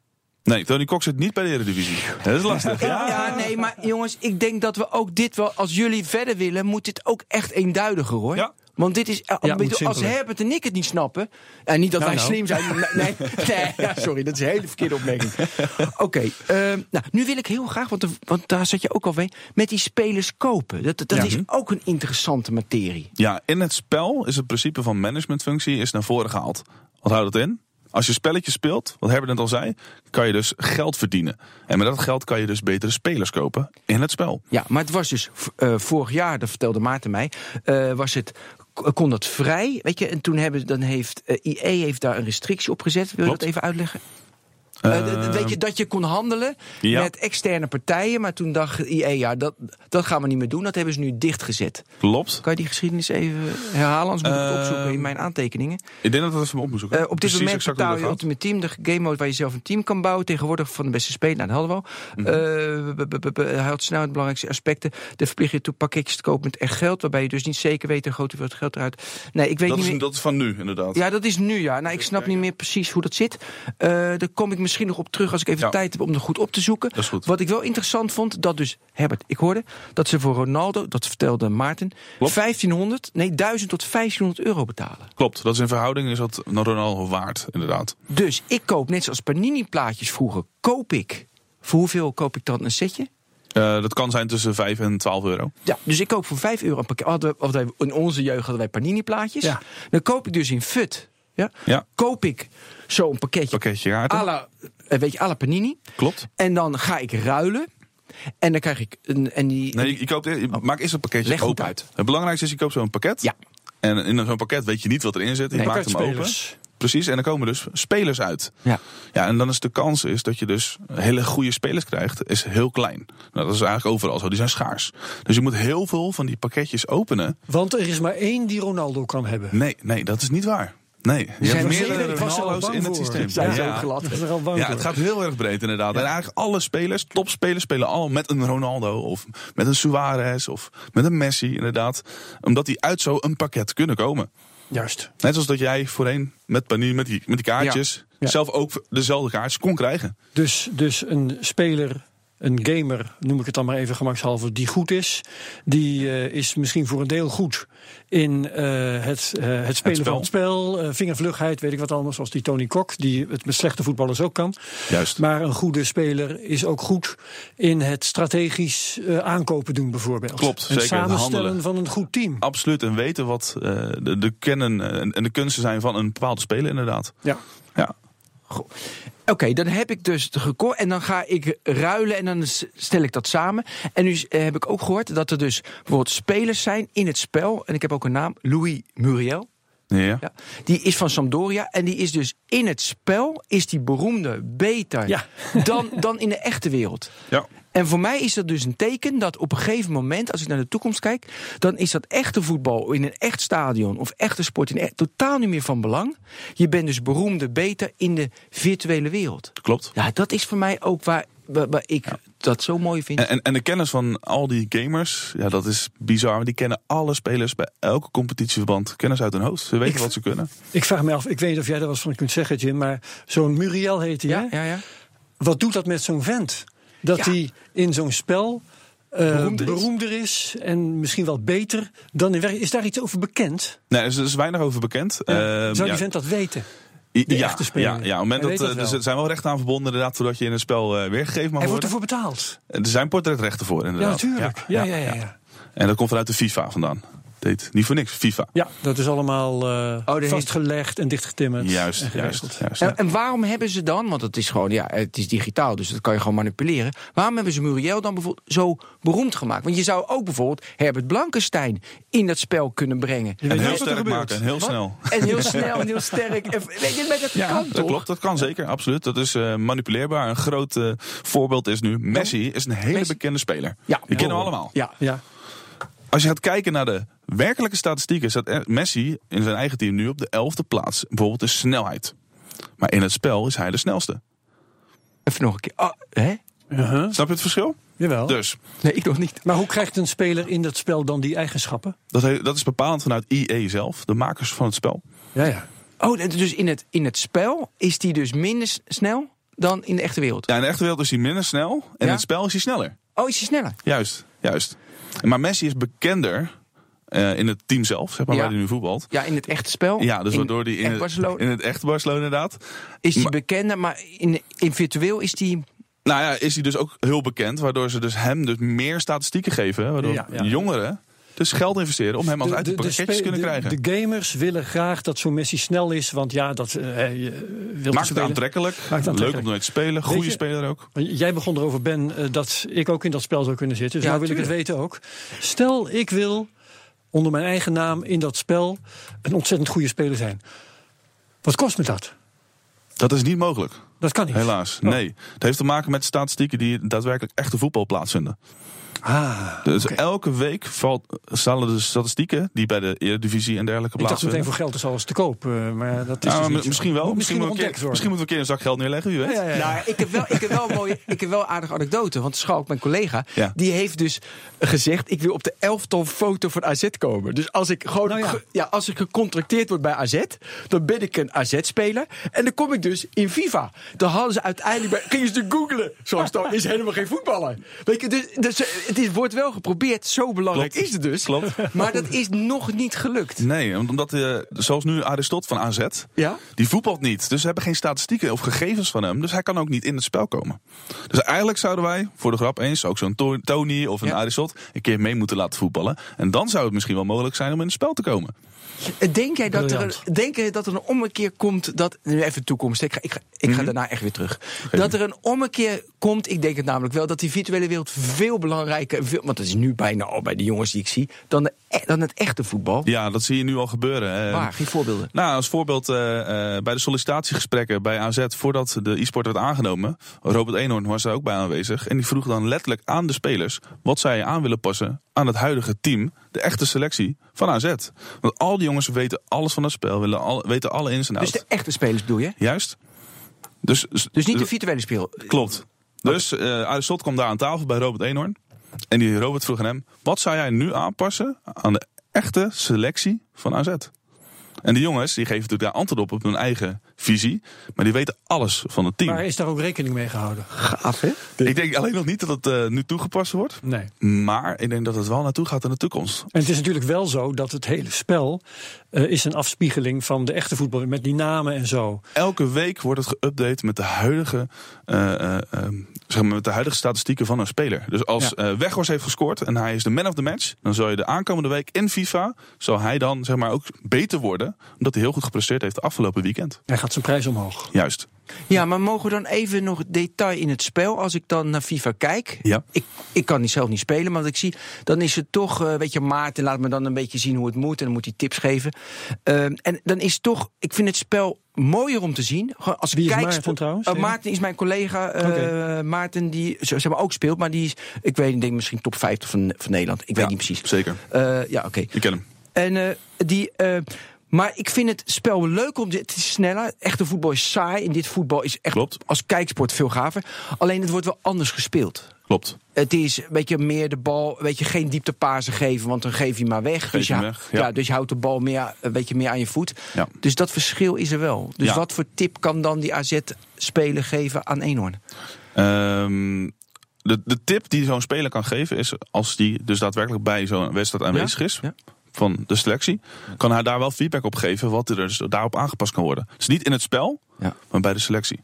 S3: Nee, Tony Cox zit niet bij de Eredivisie. Dat is lastig.
S1: Ja, nee, maar jongens, ik denk dat we ook dit wel... als jullie verder willen, moet dit ook echt eenduidiger, hoor.
S3: Ja.
S1: Want dit is, eh, ik
S2: moet
S1: bedoel, als
S2: simpeler.
S1: Herbert en ik het niet snappen... en niet dat
S2: Nou,
S1: wij
S2: nou.
S1: slim zijn... nee, nee, nee, ja, sorry, dat is een hele verkeerde opmerking. Oké, ehm, nou, nu wil ik heel graag, want, de- want daar zat je ook al mee... met die spelers kopen. Dat, dat
S3: Ja.
S1: is ook een interessante materie.
S3: Ja, in het spel is het principe van managementfunctie is naar voren gehaald. Wat houdt dat in? Als je spelletjes speelt, wat Herbert net al zei, kan je dus geld verdienen. En met dat geld kan je dus betere spelers kopen in het spel.
S1: Ja, maar het was dus v- eh, vorig jaar, dat vertelde Maarten mij, eh, was het, k- kon dat E vrij, weet je? En toen hebben, dan heeft eh IE heeft daar een restrictie op gezet. Wil je
S3: Klopt. Ehm,
S1: dat even uitleggen? Eh, d- d- weet je, dat je kon handelen
S3: ja.
S1: met externe partijen. Maar toen dacht IE, ja, dat, dat gaan we niet meer doen. Dat hebben ze nu dichtgezet.
S3: Klopt.
S1: Kan je die geschiedenis even herhalen? Anders moet ik het
S3: Eh,
S1: opzoeken in mijn aantekeningen.
S3: Ik denk dat we dat even op moeten zoeken.
S1: Eh, op dit
S3: Precies
S1: moment
S3: exact hoe
S1: betaal
S3: dat
S1: je
S3: gaat.
S1: Ultimate Team, de game mode waar je zelf een team kan bouwen. Tegenwoordig van de beste speler, nou, dat hadden we
S3: Mhm.
S1: al. Eh, b- b- b- b- Hij had snel het belangrijkste aspecten. De verplicht je toe pakketjes te kopen met echt geld. Waarbij je dus niet zeker weet hoe groot hoeveelheid geld eruit. Nee, ik weet
S3: Dat
S1: niet
S3: is,
S1: meer.
S3: dat is van nu, inderdaad.
S1: Ja, dat is nu ja. Nou, ik snap niet meer precies hoe dat zit. Eh, daar kom ik misschien nog op terug als ik even
S3: Ja.
S1: tijd heb om er goed op te zoeken.
S3: Dat is goed.
S1: Wat ik wel interessant vond, dat dus Herbert, ik hoorde dat ze voor Ronaldo, dat vertelde Maarten, 1500, nee 1000 tot 1500 euro betalen.
S3: Klopt. Dat is in verhouding is dat naar Ronaldo waard, inderdaad.
S1: Dus ik koop net zoals Panini plaatjes vroeger, koop ik. Voor hoeveel koop ik dan een setje?
S3: Eh, dat kan zijn tussen 5 en 12 euro.
S1: Ja, dus ik koop voor 5 euro een pakket. Hadden we- hadden wij- in onze jeugd hadden wij Panini plaatjes.
S2: Ja.
S1: Dan koop ik dus in FUT. Ja,
S3: Ja.
S1: Koop ik zo'n pakketje.
S3: Pakketje kaarten.
S1: à la, eh, weet je, à la Panini.
S3: Klopt.
S1: En dan ga ik ruilen. En dan krijg ik een. En die,
S3: Nee, je, je koopt, je maak eerst het pakketje
S1: Leg goed
S3: open.
S1: uit.
S3: Het belangrijkste is, je koopt zo'n pakket.
S1: Ja.
S3: En in zo'n pakket weet je niet wat erin zit. Je
S1: Nee.
S3: maakt hem open.
S2: Spelers.
S3: Precies, en er komen dus spelers uit.
S1: Ja.
S3: Ja, en dan is de kans is dat je dus hele goede spelers krijgt, is heel klein. Nou, dat is eigenlijk overal zo, die zijn schaars. Dus je moet heel veel van die pakketjes openen.
S2: Want er is maar één die Ronaldo kan hebben.
S3: Nee, nee, dat is niet waar. Nee, je
S1: zijn
S3: hebt
S1: er
S3: meerdere
S2: zeker- ik was er al
S3: Ronaldo's
S2: bang
S3: in het
S2: voor.
S3: systeem.
S1: Zijn ze
S3: Ja.
S1: ook
S2: Dat is
S1: glad.
S2: er al bang
S3: Ja, het gaat heel erg breed inderdaad. En eigenlijk alle spelers, topspelers, spelen al met een Ronaldo of met een Suarez of met een Messi inderdaad. Omdat die uit zo'n pakket kunnen komen.
S2: Juist.
S3: Net zoals dat jij voorheen met Panini, met die, met die kaartjes,
S2: Ja.
S3: zelf ook dezelfde kaartjes kon krijgen.
S2: Dus, dus een speler, een gamer, noem ik het dan maar even gemakshalve, die goed is. Die eh, is misschien voor een deel goed in eh, het, eh, het spelen
S3: spel.
S2: van het spel. eh, vingervlugheid, weet ik wat allemaal. Zoals die Tony Kok, die het met slechte voetballers ook kan.
S3: Juist.
S2: Maar een goede speler is ook goed in het strategisch eh, aankopen doen bijvoorbeeld.
S3: Klopt,
S2: het
S3: zeker, het
S2: samenstellen
S3: handelen.
S2: van een goed team.
S3: Absoluut, en weten wat eh, de, de kennen eh, en, en de kunsten zijn van een bepaalde speler inderdaad.
S2: Ja.
S3: Ja,
S1: Goh. Oké, dan heb ik dus gekocht. En dan ga ik ruilen en dan s- stel ik dat samen. En nu s- eh, heb ik ook gehoord dat er dus bijvoorbeeld spelers zijn in het spel. En ik heb ook een naam: Louis Muriel.
S3: ja.
S1: Ja, die is van Sampdoria en die is dus in het spel is die beroemde beter
S2: Ja.
S1: dan, dan in de echte wereld.
S3: Ja.
S1: En voor mij is dat dus een teken dat op een gegeven moment, als ik naar de toekomst kijk, dan is dat echte voetbal in een echt stadion of echte sport in echt, totaal niet meer van belang. Je bent dus beroemde beter in de virtuele wereld.
S3: klopt.
S1: Ja, dat is voor mij ook waar, waar, waar ik dat zo mooi vind.
S3: En, en, en de kennis van al die gamers, ja, dat is bizar. Maar die kennen alle spelers bij elke competitieverband kennis uit hun hoofd. Ze weten
S2: Ik-
S3: wat ze kunnen.
S2: Ik vraag me af, ik weet niet of jij daar wat van kunt zeggen, Jim, maar zo'n Muriel heet hij.
S1: ja, ja, ja.
S2: wat doet dat met zo'n vent? Dat
S1: Ja.
S2: hij in zo'n spel eh, beroemder,
S1: Beroemder is.
S2: is. en misschien wel beter dan in werkelijkheid. Is daar iets over bekend?
S3: Nee, er is, er is weinig over bekend. Ehm,
S2: Zou die
S3: ja.
S2: vent dat weten?
S3: I-
S2: die
S3: ja,
S2: echte speler?
S3: Ja, ja, op het moment
S2: Hij
S3: dat,
S2: weet
S3: eh,
S2: dat wel.
S3: er zijn wel rechten aan verbonden inderdaad, voordat je in een spel eh, weergegeven mag
S2: Hij wordt
S3: worden.
S2: ervoor betaald.
S3: Er zijn portretrechten voor
S2: Ja,
S3: inderdaad.
S2: natuurlijk. Ja, ja, ja. ja,
S3: En dat komt vanuit de FIFA vandaan. Deed niet voor niks, FIFA.
S2: Ja, dat is allemaal eh,
S1: Oh, die-
S2: vastgelegd en dichtgetimmerd. en
S3: Juist,
S2: geregeld.
S3: juist, juist.
S1: En, en waarom hebben ze dan, want het is gewoon, ja, het is digitaal, dus dat kan je gewoon manipuleren. Waarom hebben ze Muriel dan bijvoorbeeld zo beroemd gemaakt? Want je zou ook bijvoorbeeld Herbert Blankenstein in dat spel kunnen brengen.
S2: Je
S3: En
S2: weet
S3: heel
S2: nooit wat er
S3: sterk
S2: gebeurt.
S3: maken, en heel snel.
S1: En heel snel en heel sterk. En, weet je, met het kan
S3: dat
S1: toch?
S3: klopt. Dat kan zeker, absoluut. Dat is eh, manipuleerbaar. Een groot eh, voorbeeld is nu Messi is een hele
S1: Messi.
S3: bekende speler.
S1: Ja.
S3: Die kennen we allemaal.
S1: Ja.
S2: Ja,
S3: Als je gaat kijken naar de werkelijke statistieken, staat eh, Messi in zijn eigen team nu op de elfde plaats. Bijvoorbeeld in snelheid. Maar in het spel is hij de snelste.
S1: Even nog een keer. Ah, hè?
S3: Snap je het verschil?
S1: Oh.
S2: jawel.
S3: Dus
S1: Nee, ik nog niet.
S2: Maar hoe krijgt een speler in dat spel dan die eigenschappen?
S3: dat, he- dat is bepalend vanuit IE zelf, de makers van het spel.
S2: Ja, ja.
S1: Oh, dat- dus in het, in het spel is die dus minder s- snel dan in de echte wereld.
S3: Ja, in de echte wereld is hij minder snel en in
S1: Ja?
S3: het spel is hij sneller.
S1: Oh, is die sneller?
S3: Juist, juist. Maar Messi is bekender eh, in het team zelf, zeg maar,
S1: Ja.
S3: waar hij nu voetbalt.
S1: Ja, in het echte spel.
S3: Ja, dus
S1: in,
S3: waardoor die in,
S1: echt
S3: het-
S1: Barcelona
S3: in het echte Barcelona inderdaad.
S1: is die
S3: maar-
S1: bekender, maar in, in virtueel is die...
S3: Nou ja, is hij dus ook heel bekend, waardoor ze dus hem dus meer statistieken geven. hè, Waardoor
S2: Ja, ja.
S3: jongeren dus geld investeren om hem als uit de, pakketjes
S2: spe-
S3: kunnen
S2: de-
S3: krijgen.
S2: de gamers willen graag dat zo'n Messi snel is, want ja, dat eh, hij, eh, wil
S3: Maakt het
S2: spelen.
S3: aantrekkelijk. Leuk om
S2: aantrekkelijk.
S3: mee te spelen. Goede
S2: je- Oh.
S3: speler ook.
S2: Jij begon erover, Ben, eh, dat ik ook in dat spel zou kunnen zitten. Dus
S1: Ja,
S2: nou wil ik het weten ook. Stel, ik wil onder mijn eigen naam in dat spel een ontzettend goede speler zijn. Wat kost me dat?
S3: Dat is niet mogelijk,
S2: Dat kan niet.
S3: helaas.
S2: Oh.
S3: Nee. Het heeft te maken met statistieken die daadwerkelijk echte voetbal plaatsvinden.
S2: Ah,
S3: Dus
S2: oké.
S3: elke week valt, staan er de statistieken die bij de Eredivisie en dergelijke
S2: Ik dacht
S3: plaatsvinden.
S2: meteen voor geld is alles te koop. eh, Maar dat is
S3: Ja,
S2: dus
S3: maar
S2: niet zo.
S3: misschien wel.
S2: Moet
S3: Misschien,
S2: Misschien,
S3: moeten
S2: nog
S3: we een
S2: ontdekt
S3: keer,
S2: worden.
S3: misschien moeten we een keer een zak geld neerleggen, wie weet.
S2: Ja, ja, ja.
S1: Nou, ik heb wel, ik heb wel een mooie, ik heb wel een aardige anekdote. Want Schalk, mijn collega,
S3: Ja.
S1: die heeft dus gezegd: ik wil op de elftal foto van AZ komen. Dus als ik gewoon,
S2: Nou ja.
S1: ge- ja, als ik gecontracteerd word bij AZ, dan ben ik een AZ-speler en dan kom ik dus in FIFA. Dan hadden ze uiteindelijk, bij, gingen ze googelen. Zoals dan is helemaal geen voetballer. Weet je, dus, dus het is, wordt wel geprobeerd. Zo belangrijk
S3: Klopt.
S1: is het dus.
S3: Klopt.
S1: Maar dat is nog niet gelukt.
S3: Nee, omdat eh, zoals nu Aristot van AZ,
S1: Ja?
S3: die voetbalt niet. Dus ze hebben geen statistieken of gegevens van hem. Dus hij kan ook niet in het spel komen. Dus eigenlijk zouden wij, voor de grap eens, ook zo'n To- Tony of een
S1: Ja.
S3: Aristot een keer mee moeten laten voetballen. En dan zou het misschien wel mogelijk zijn om in het spel te komen.
S1: Denk jij dat er,
S2: Briljant.
S1: een- denk jij dat er een ommekeer komt dat. Nu even de toekomst. Ik ga, ik ga, ik
S3: Mhm.
S1: ga daarna echt weer terug. Dat er een ommekeer komt. Ik denk het namelijk wel. Dat die virtuele wereld veel belangrijker. Veel, want dat is nu bijna al bij de jongens die ik zie. Dan, de, e- dan het echte voetbal.
S3: Ja, dat zie je nu al gebeuren. En-
S1: Waar? Geen voorbeelden.
S3: Nou, als voorbeeld eh, eh, bij de sollicitatiegesprekken bij AZ, voordat de e-sport werd aangenomen, Robert Eenhoorn was daar ook bij aanwezig. En die vroeg dan letterlijk aan de spelers wat zij aan willen passen aan het huidige team, de echte selectie van AZ. Want al die jongens weten alles van het spel, willen al, weten alle ins en
S1: Dus
S3: outs.
S1: de echte spelers bedoel je?
S3: Juist. Dus,
S1: Dus niet de virtuele speel.
S3: Klopt. Dus eh Aristot kwam daar aan tafel bij Robert Eenhoorn. En die Robert vroeg aan hem: wat zou jij nu aanpassen aan de echte selectie van AZ? En die jongens die geven natuurlijk daar antwoord op op hun eigen visie. Maar die weten alles van het team.
S2: Maar is daar ook rekening mee gehouden?
S1: Gaaf, hè?
S3: Ik denk alleen nog niet dat het eh, nu toegepast wordt.
S2: Nee.
S3: Maar ik denk dat het wel naartoe gaat in de toekomst.
S2: En het is natuurlijk wel zo dat het hele spel eh, is een afspiegeling van de echte voetbal met die namen en zo.
S3: Elke week wordt het geüpdate met de huidige, eh, eh, eh, zeg maar met de huidige statistieken van een speler. Dus als eh Weghorst heeft gescoord en hij is de man of the match, dan zal je de aankomende week in FIFA zal hij dan zeg maar ook beter worden, omdat hij heel goed gepresteerd heeft de afgelopen weekend.
S2: Hij gaat zijn prijs omhoog.
S3: Juist.
S1: Ja, maar mogen we dan even nog detail in het spel? Als ik dan naar FIFA kijk.
S3: Ja.
S1: Ik, ik kan niet zelf niet spelen, maar wat ik zie, dan is het toch, eh, weet je, Maarten laat me dan een beetje zien hoe het moet en dan moet hij tips geven. Ehm, en dan is het toch, ik vind het spel mooier om te zien. Gewoon Als ik
S2: Wie is
S1: kijk,
S2: Maarten
S1: spo-
S2: trouwens?
S1: Eh, Maarten is mijn collega. eh, Maarten die zo- zeg maar, ook speelt, maar die is, ik weet niet, denk misschien top 50 van, van Nederland. Ik weet niet precies.
S3: Zeker.
S1: Eh, ja, oké.
S3: Ik ken hem.
S1: En eh, die. eh, maar ik vind het spel leuk om. Het is sneller. Echte voetbal is saai. En dit voetbal is echt
S3: Klopt.
S1: als kijksport veel gaver. Alleen het wordt wel anders gespeeld.
S3: Klopt.
S1: Het is een beetje meer de bal. Weet je, geen diepte pasen geven, want dan geef je hem maar weg. dus,
S3: je
S1: je,
S3: hem
S1: hou-
S3: weg, ja.
S1: ja. dus je houdt de bal meer, een beetje meer aan je voet.
S3: Ja.
S1: Dus dat verschil is er wel. Dus
S3: Ja.
S1: wat voor tip kan dan die AZ-speler geven aan Eenhoorn?
S3: Ehm, de, de tip die zo'n speler kan geven is als die dus daadwerkelijk bij zo'n wedstrijd aanwezig is.
S1: ja.
S3: Van de selectie, kan hij daar wel feedback op geven wat er dus daarop aangepast kan worden. Dus niet in het spel,
S1: Ja.
S3: maar bij de selectie.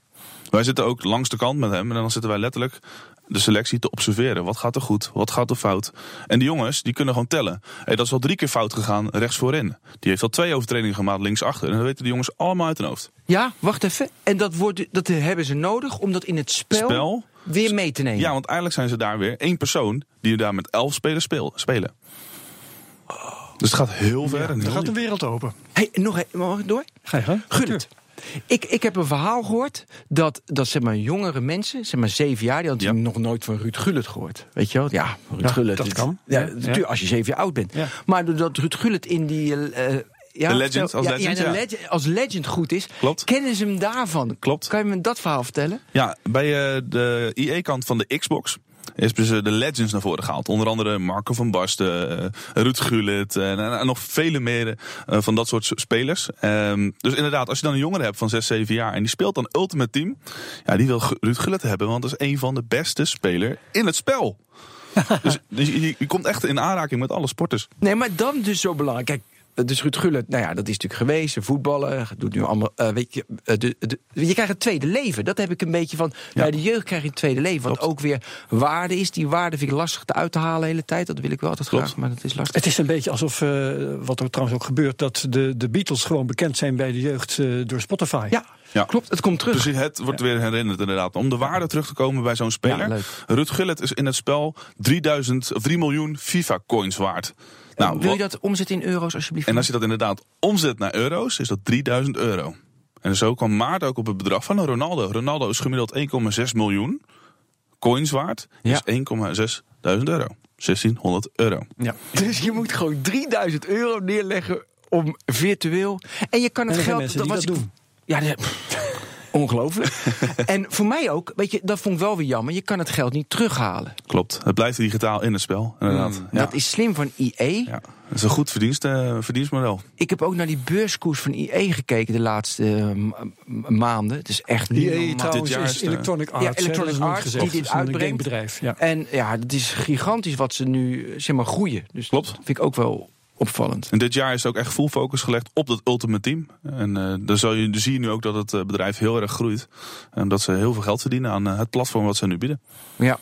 S3: Wij zitten ook langs de kant met hem en dan zitten wij letterlijk de selectie te observeren. Wat gaat er goed, wat gaat er fout? En die jongens, die kunnen gewoon tellen. Hey, dat is al drie keer fout gegaan, rechts voorin. Die heeft al twee overtredingen gemaakt, links achter. En dat weten de jongens allemaal uit hun hoofd.
S1: Ja, wacht even. En dat, wordt, dat hebben ze nodig om dat in het spel,
S3: Spel?
S1: weer mee te nemen.
S3: Ja, want eigenlijk zijn ze daar weer één persoon die daar met elf spelers speel- spelen. Dus het gaat heel ver. en
S2: Dan
S3: heel
S2: gaat de
S3: diep.
S2: wereld open.
S1: Hey, nog een, mag ik door?
S2: Ga je gang.
S1: Gullit. Ik, ik heb een verhaal gehoord dat, dat zeg maar, jongere mensen, zeg maar zeven jaar, die hadden
S3: Ja.
S1: nog nooit van Ruud Gullit gehoord. Weet je wel? Ja, Ruud Gullit.
S2: dat
S1: het-
S2: kan.
S1: Ja,
S2: Ja,
S1: natuurlijk,
S2: ja.
S1: als je zeven jaar oud bent.
S2: Ja.
S1: Maar doordat Ruud Gullit in die... eh, eh, ja,
S3: De legend, als
S1: ja,
S3: legend,
S1: ja, de
S3: ja.
S1: legend- als legend goed is,
S3: Klopt.
S1: kennen ze hem daarvan.
S3: Klopt.
S1: Kan je me dat verhaal vertellen?
S3: Ja, bij eh, de IE-kant van de Xbox is dus eh, de Legends naar voren gehaald. Onder andere Marco van Basten, eh, Ruud Gullit eh, en, en nog vele meer eh, van dat soort s- spelers. Ehm, dus inderdaad, als je dan een jongere hebt van 6, 7 jaar en die speelt dan Ultimate Team. Ja, die wil Gu- Ruud Gullit hebben, want dat is een van de beste spelers in het spel. dus dus je, je komt echt in aanraking met alle sporters.
S1: Nee, maar dan dus zo belangrijk. Kijk, eh, dus Ruud Gullit, nou ja, dat is natuurlijk geweest. Een Voetballer, doet nu allemaal. eh, weet je, eh, de, de- je krijgt een tweede leven. Dat heb ik een beetje van. Bij de jeugd krijg je een tweede leven. Wat ook weer waarde is. Die waarde vind ik lastig te uit te halen de hele tijd. Dat wil ik wel altijd
S3: Klopt.
S1: graag, maar dat is lastig.
S2: Het is een beetje alsof, eh, wat er trouwens ook gebeurt, dat de, de Beatles gewoon bekend zijn bij de jeugd eh, door Spotify.
S1: Ja,
S3: Ja.
S1: klopt. Het komt terug.
S3: Precies, Dus het wordt weer herinnerd inderdaad. Om de waarde terug te komen bij zo'n
S1: Ja,
S3: speler.
S1: leuk.
S3: Ruud Gullit is in het spel 3000, of 3 miljoen FIFA-coins waard. Nou,
S1: Wil je
S3: wat-
S1: dat omzetten in euro's, alsjeblieft?
S3: En als je dat inderdaad omzet naar euro's, is dat 3000 euro. En En zo kwam Maarten ook op het bedrag van een Ronaldo. Ronaldo is gemiddeld 1,6 miljoen coins waard.
S1: Ja.
S3: Dus 1,6.000 euro. 1600 euro.
S1: Ja. Dus je moet gewoon 3000 euro neerleggen om virtueel. En je kan
S2: En
S1: het
S2: er zijn
S1: geld.
S2: mensen die
S1: was
S2: dat
S1: ik-
S2: doen.
S1: Ja, dat- pff, ongelooflijk. en voor mij ook, weet je, dat vond ik wel weer jammer. Je kan het geld niet terughalen.
S3: Klopt. Het blijft digitaal in het spel. Inderdaad. ja.
S1: Mm. Dat is slim van IE.
S3: ja. Dat is een goed verdienst, eh, verdienstmodel.
S1: Ik heb ook naar die beurskoers van IE gekeken de laatste eh, ma- ma- maanden. Het is echt niet
S2: EA
S1: normaal.
S2: E trouwens
S3: jaar is
S2: is
S3: de-
S2: Electronic Arts. hè, dat
S1: Electronic
S2: is nooit
S1: Arts die
S2: gezegd.
S1: dit
S2: Dat is een
S1: uitbrengt.
S2: gamebedrijf, ja.
S1: En ja, het is gigantisch wat ze nu eh, zeg maar, groeien. Dus
S3: Klopt.
S1: dat vind ik ook wel opvallend.
S3: En dit jaar is ook echt full focus gelegd op dat Ultimate Team. En eh dan, zal je, dan zie je nu ook dat het eh, bedrijf heel erg groeit. En dat ze heel veel geld verdienen aan eh, het platform wat ze nu bieden.
S1: Ja.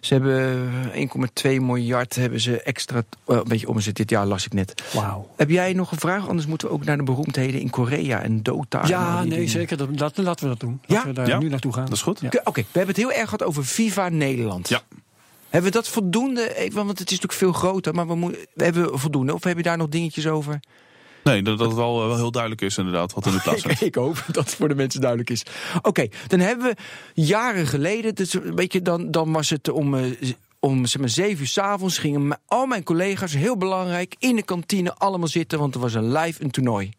S1: Ze eh, hebben 1,2 miljard hebben ze extra. eh, een beetje omzet dit jaar, las ik net.
S2: Wauw.
S1: Heb jij nog een vraag? Anders moeten we ook naar de beroemdheden in Korea en Dota. en al
S2: Ja,
S1: die
S2: nee,
S1: dingen.
S2: zeker. Dat, laten, laten we dat doen.
S1: Ja?
S2: Laten we daar
S3: Ja?
S2: nu naartoe gaan.
S3: Dat is goed.
S2: Ja.
S1: Oké, oké, we hebben het heel erg gehad over Viva Nederland.
S3: Ja.
S1: Hebben we dat voldoende? Eh, Want het is natuurlijk veel groter, maar we, moeten we hebben voldoende. Of heb je daar nog dingetjes over?
S3: Nee, dat, dat het wel, eh, wel heel duidelijk is inderdaad wat er nu plaatsvindt.
S1: Ik hoop dat het voor de mensen duidelijk is. Oké, dan hebben we jaren geleden, dus een beetje dan, dan was het om, eh, z- om zeg maar, zeven uur s'avonds, gingen m- al mijn collega's, heel belangrijk, in de kantine allemaal zitten, want er was een live een toernooi.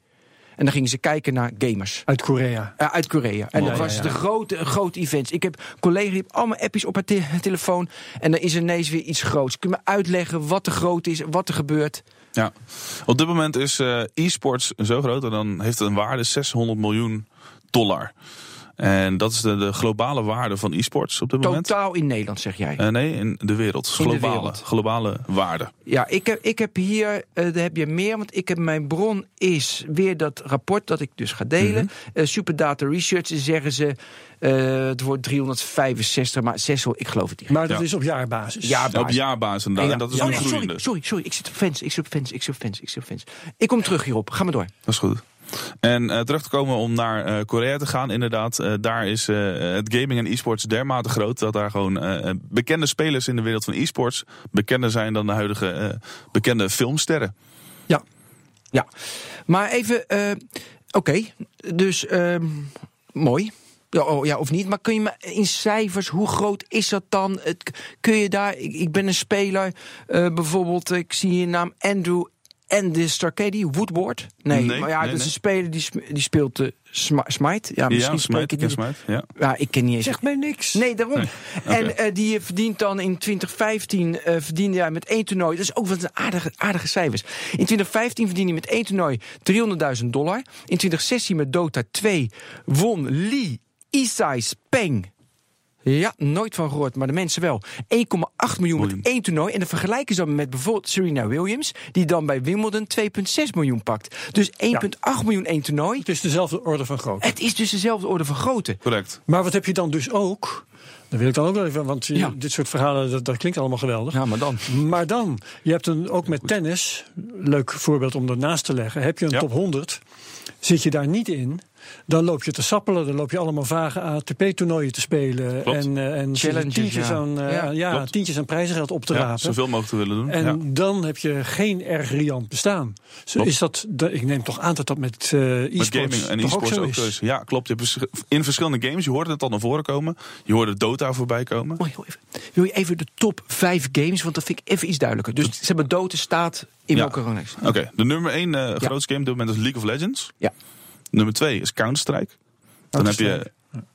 S1: En dan gingen ze kijken naar gamers.
S2: Uit Korea.
S1: eh, uit Korea. En
S2: Mooi,
S1: dat was
S2: ja,
S1: het
S2: ja.
S1: een grote, een groot event. Ik heb collega's die hebben allemaal appjes op haar te- telefoon. En dan is er ineens weer iets groots. Kun je me uitleggen wat er groot is, wat er gebeurt?
S3: Ja, op dit moment is eh, e-sports zo groot en dan heeft het een waarde 600 miljoen dollar. En dat is de, de globale waarde van e-sports op dit moment.
S1: Totaal in Nederland, zeg jij.
S3: Eh, nee, in de wereld.
S1: In de
S3: Globale,
S1: wereld.
S3: globale waarde.
S1: Ja, ik heb, ik heb hier, eh, daar heb je meer, want ik heb, mijn bron is weer dat rapport dat ik dus ga delen.
S3: Mhm.
S1: Eh, Superdata Research, zeggen ze, eh, het wordt 365, maar 600, ik geloof het niet.
S2: Maar dat
S3: Ja.
S2: is op jaarbasis.
S1: Ja,
S3: Op jaarbasis inderdaad.
S1: Ja.
S3: Nou, En dat is
S1: oh,
S3: nu
S1: nee,
S3: groeiende.
S1: sorry, sorry, sorry, ik zit op fans, ik zit op fans, ik zit op fans, ik zit op fans. Ik kom terug hierop, ga maar door.
S3: Dat is goed. En eh, terug te komen om naar eh, Korea te gaan, inderdaad. eh, daar is eh, het gaming en e-sports dermate groot dat daar gewoon eh, bekende spelers in de wereld van e-sports bekender zijn dan de huidige eh, bekende filmsterren.
S2: Ja.
S1: Ja, maar even, eh, oké, dus ehm, mooi. Ja, oh, ja, of niet, maar kun je me in cijfers, hoe groot is dat dan? Het, kun je daar, ik, ik ben een speler, eh, bijvoorbeeld, ik zie hier naam Andrew en de Starcady, Woodward. Nee,
S3: Nee,
S1: maar ja,
S3: nee,
S1: dat is
S3: nee.
S1: een speler die, sm- die speelt de Smite. Ja, misschien
S3: Smite,
S1: spreek ik
S3: Ken
S1: niet.
S3: Smite, ja.
S1: Ja, ik ken niet eens.
S2: Zegt mij niks.
S1: Nee, daarom.
S3: oké.
S1: En eh, die verdient dan in 2015 eh, verdiende hij met één toernooi. Dat is ook wat een aardige, aardige cijfers. In 2015 verdiende hij met één toernooi 300.000 dollar. In 2016 met Dota 2 won Lee Isai Peng. Ja, nooit van gehoord, maar de mensen wel. 1,8 miljoen met
S3: Miljoen.
S1: één toernooi. En dan vergelijken ze dan met bijvoorbeeld Serena Williams, die dan bij Wimbledon 2,6 miljoen pakt. Dus 1,8 miljoen één toernooi.
S2: Het is dezelfde orde van grootte.
S1: Het is dus dezelfde orde van grootte.
S3: Correct.
S2: Maar wat heb je dan dus ook? Dat wil ik dan ook wel even, want je-
S1: Ja.
S2: dit soort verhalen, dat, dat klinkt allemaal geweldig.
S1: Ja, maar dan.
S2: Maar dan, je hebt een, ook met tennis, leuk voorbeeld om ernaast te leggen. Heb je een
S3: Ja.
S2: top 100, zit je daar niet in, dan loop je te sappelen. Dan loop je allemaal vage ATP-toernooien te spelen.
S3: Klopt.
S2: En, eh, en
S1: Challenges,
S2: tientjes,
S1: ja.
S2: aan, eh,
S1: Ja.
S2: aan- ja,
S3: Klopt.
S2: tientjes aan prijzengeld op te
S3: Ja,
S2: rapen.
S3: zoveel mogelijk te willen doen.
S2: En
S3: ja.
S2: dan heb je geen erg riant bestaan. Zo
S3: Klopt.
S2: is dat, de- ik neem toch aan dat dat met eh,
S3: Met
S2: e-sports
S3: gaming en
S2: toch
S3: e-sports
S2: zo
S3: ook zo is. Ja, klopt. Je hebt vers- in verschillende games, je hoorde het al naar voren komen. Je hoorde Dota voorbij komen.
S1: Mooi, heel even. Wil je even de top 5 games? Want dat vind ik even iets duidelijker. Dus ze hebben dood staat in
S3: Ja.
S1: welke ranglijst.
S3: Oké, de nummer 1 eh grootste game op dit moment is League of Legends.
S1: Ja.
S3: Nummer 2 is Counter-Strike. Dan heb, je,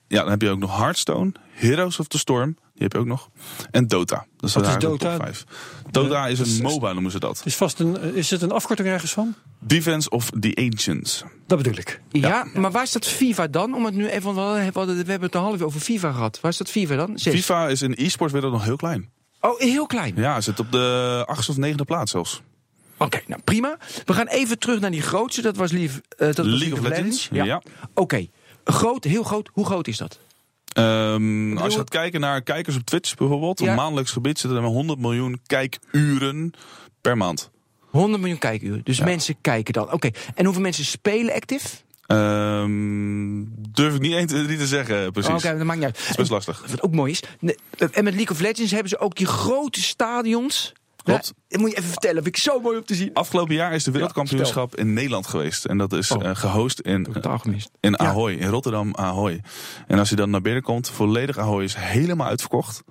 S3: ja, dan heb je ook nog Hearthstone, Heroes of the Storm, die heb je ook nog. En Dota. Dat zijn
S2: Wat is
S3: eigenlijk de
S2: Dota?
S3: top vijf. Dota is een MOBA, noemen ze dat.
S2: Is, vast een, eh, is het een afkorting ergens van?
S3: Defense of the Ancients.
S2: Dat bedoel ik.
S1: Ja, maar waar staat FIFA dan? Om het nu even, want we hadden- we hadden- we hebben het een half uur over FIFA gehad. Waar staat FIFA dan? Zes.
S3: FIFA is in e-sports wereld nog heel klein.
S1: Oh, heel klein.
S3: Ja, zit op de achtste of negende plaats zelfs.
S1: Oké, nou prima. We gaan even terug naar die grootste. Dat was lief. eh, dat was
S3: League of Legends.
S1: Ja.
S3: ja.
S1: Oké. Groot, heel groot. Hoe groot is dat?
S3: Ehm, als
S1: bedoel-
S3: je gaat kijken naar kijkers op Twitch bijvoorbeeld,
S1: Ja.
S3: op maandelijks gebied zitten er 100 miljoen kijkuren per maand.
S1: 100 miljoen kijkuren. Dus mensen kijken dan. Oké. En hoeveel mensen spelen actief?
S3: Ehm, durf ik niet, één te- drie te zeggen, precies.
S1: Oh, Oké, nou, dat maakt niet uit.
S3: Dat is best lastig.
S1: Wat ook mooi is. ne- En met League of Legends hebben ze ook die grote stadions.
S3: Klopt.
S1: Ja, dat moet je even vertellen. Vind ik zo mooi om te zien.
S3: Afgelopen jaar is de wereldkampioenschap in Nederland geweest. En dat is
S1: Oh.
S3: eh, gehost in,
S1: Totaal gemist.
S3: in
S1: Ja.
S3: Ahoy, in Rotterdam Ahoy. En als je dan naar binnen komt, volledig Ahoy is helemaal uitverkocht.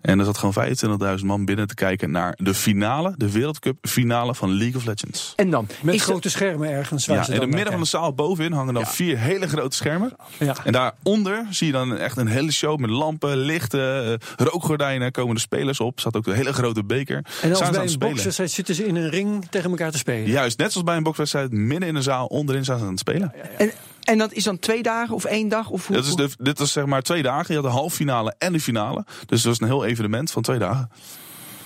S3: En er zat gewoon 25.000 man binnen te kijken naar de finale, de Wereldcup finale van League of Legends.
S1: En dan?
S2: Met
S1: is
S2: grote schermen ergens. Waar
S3: Ja,
S2: ze
S3: in het
S2: dan
S3: midden van de
S2: naar
S3: zaal bovenin hangen dan vier hele grote schermen.
S2: kijken.
S3: En daaronder zie je dan echt een hele show met lampen, lichten, eh, rookgordijnen. Komen de spelers op. Zat ook een hele grote beker.
S2: En
S3: Zijn ze
S2: als
S3: aan
S2: bij
S3: het
S2: een bokswedstrijd zitten ze in een ring tegen elkaar te spelen.
S3: Juist, net zoals bij een bokswedstrijd, midden in de zaal, onderin zijn ze aan het spelen.
S1: En, en dat is dan twee dagen of één dag? Of hoe,
S3: Dat is de, dit was zeg maar twee dagen. Je had de halve finale en de finale. Dus het was een heel evenement van twee dagen.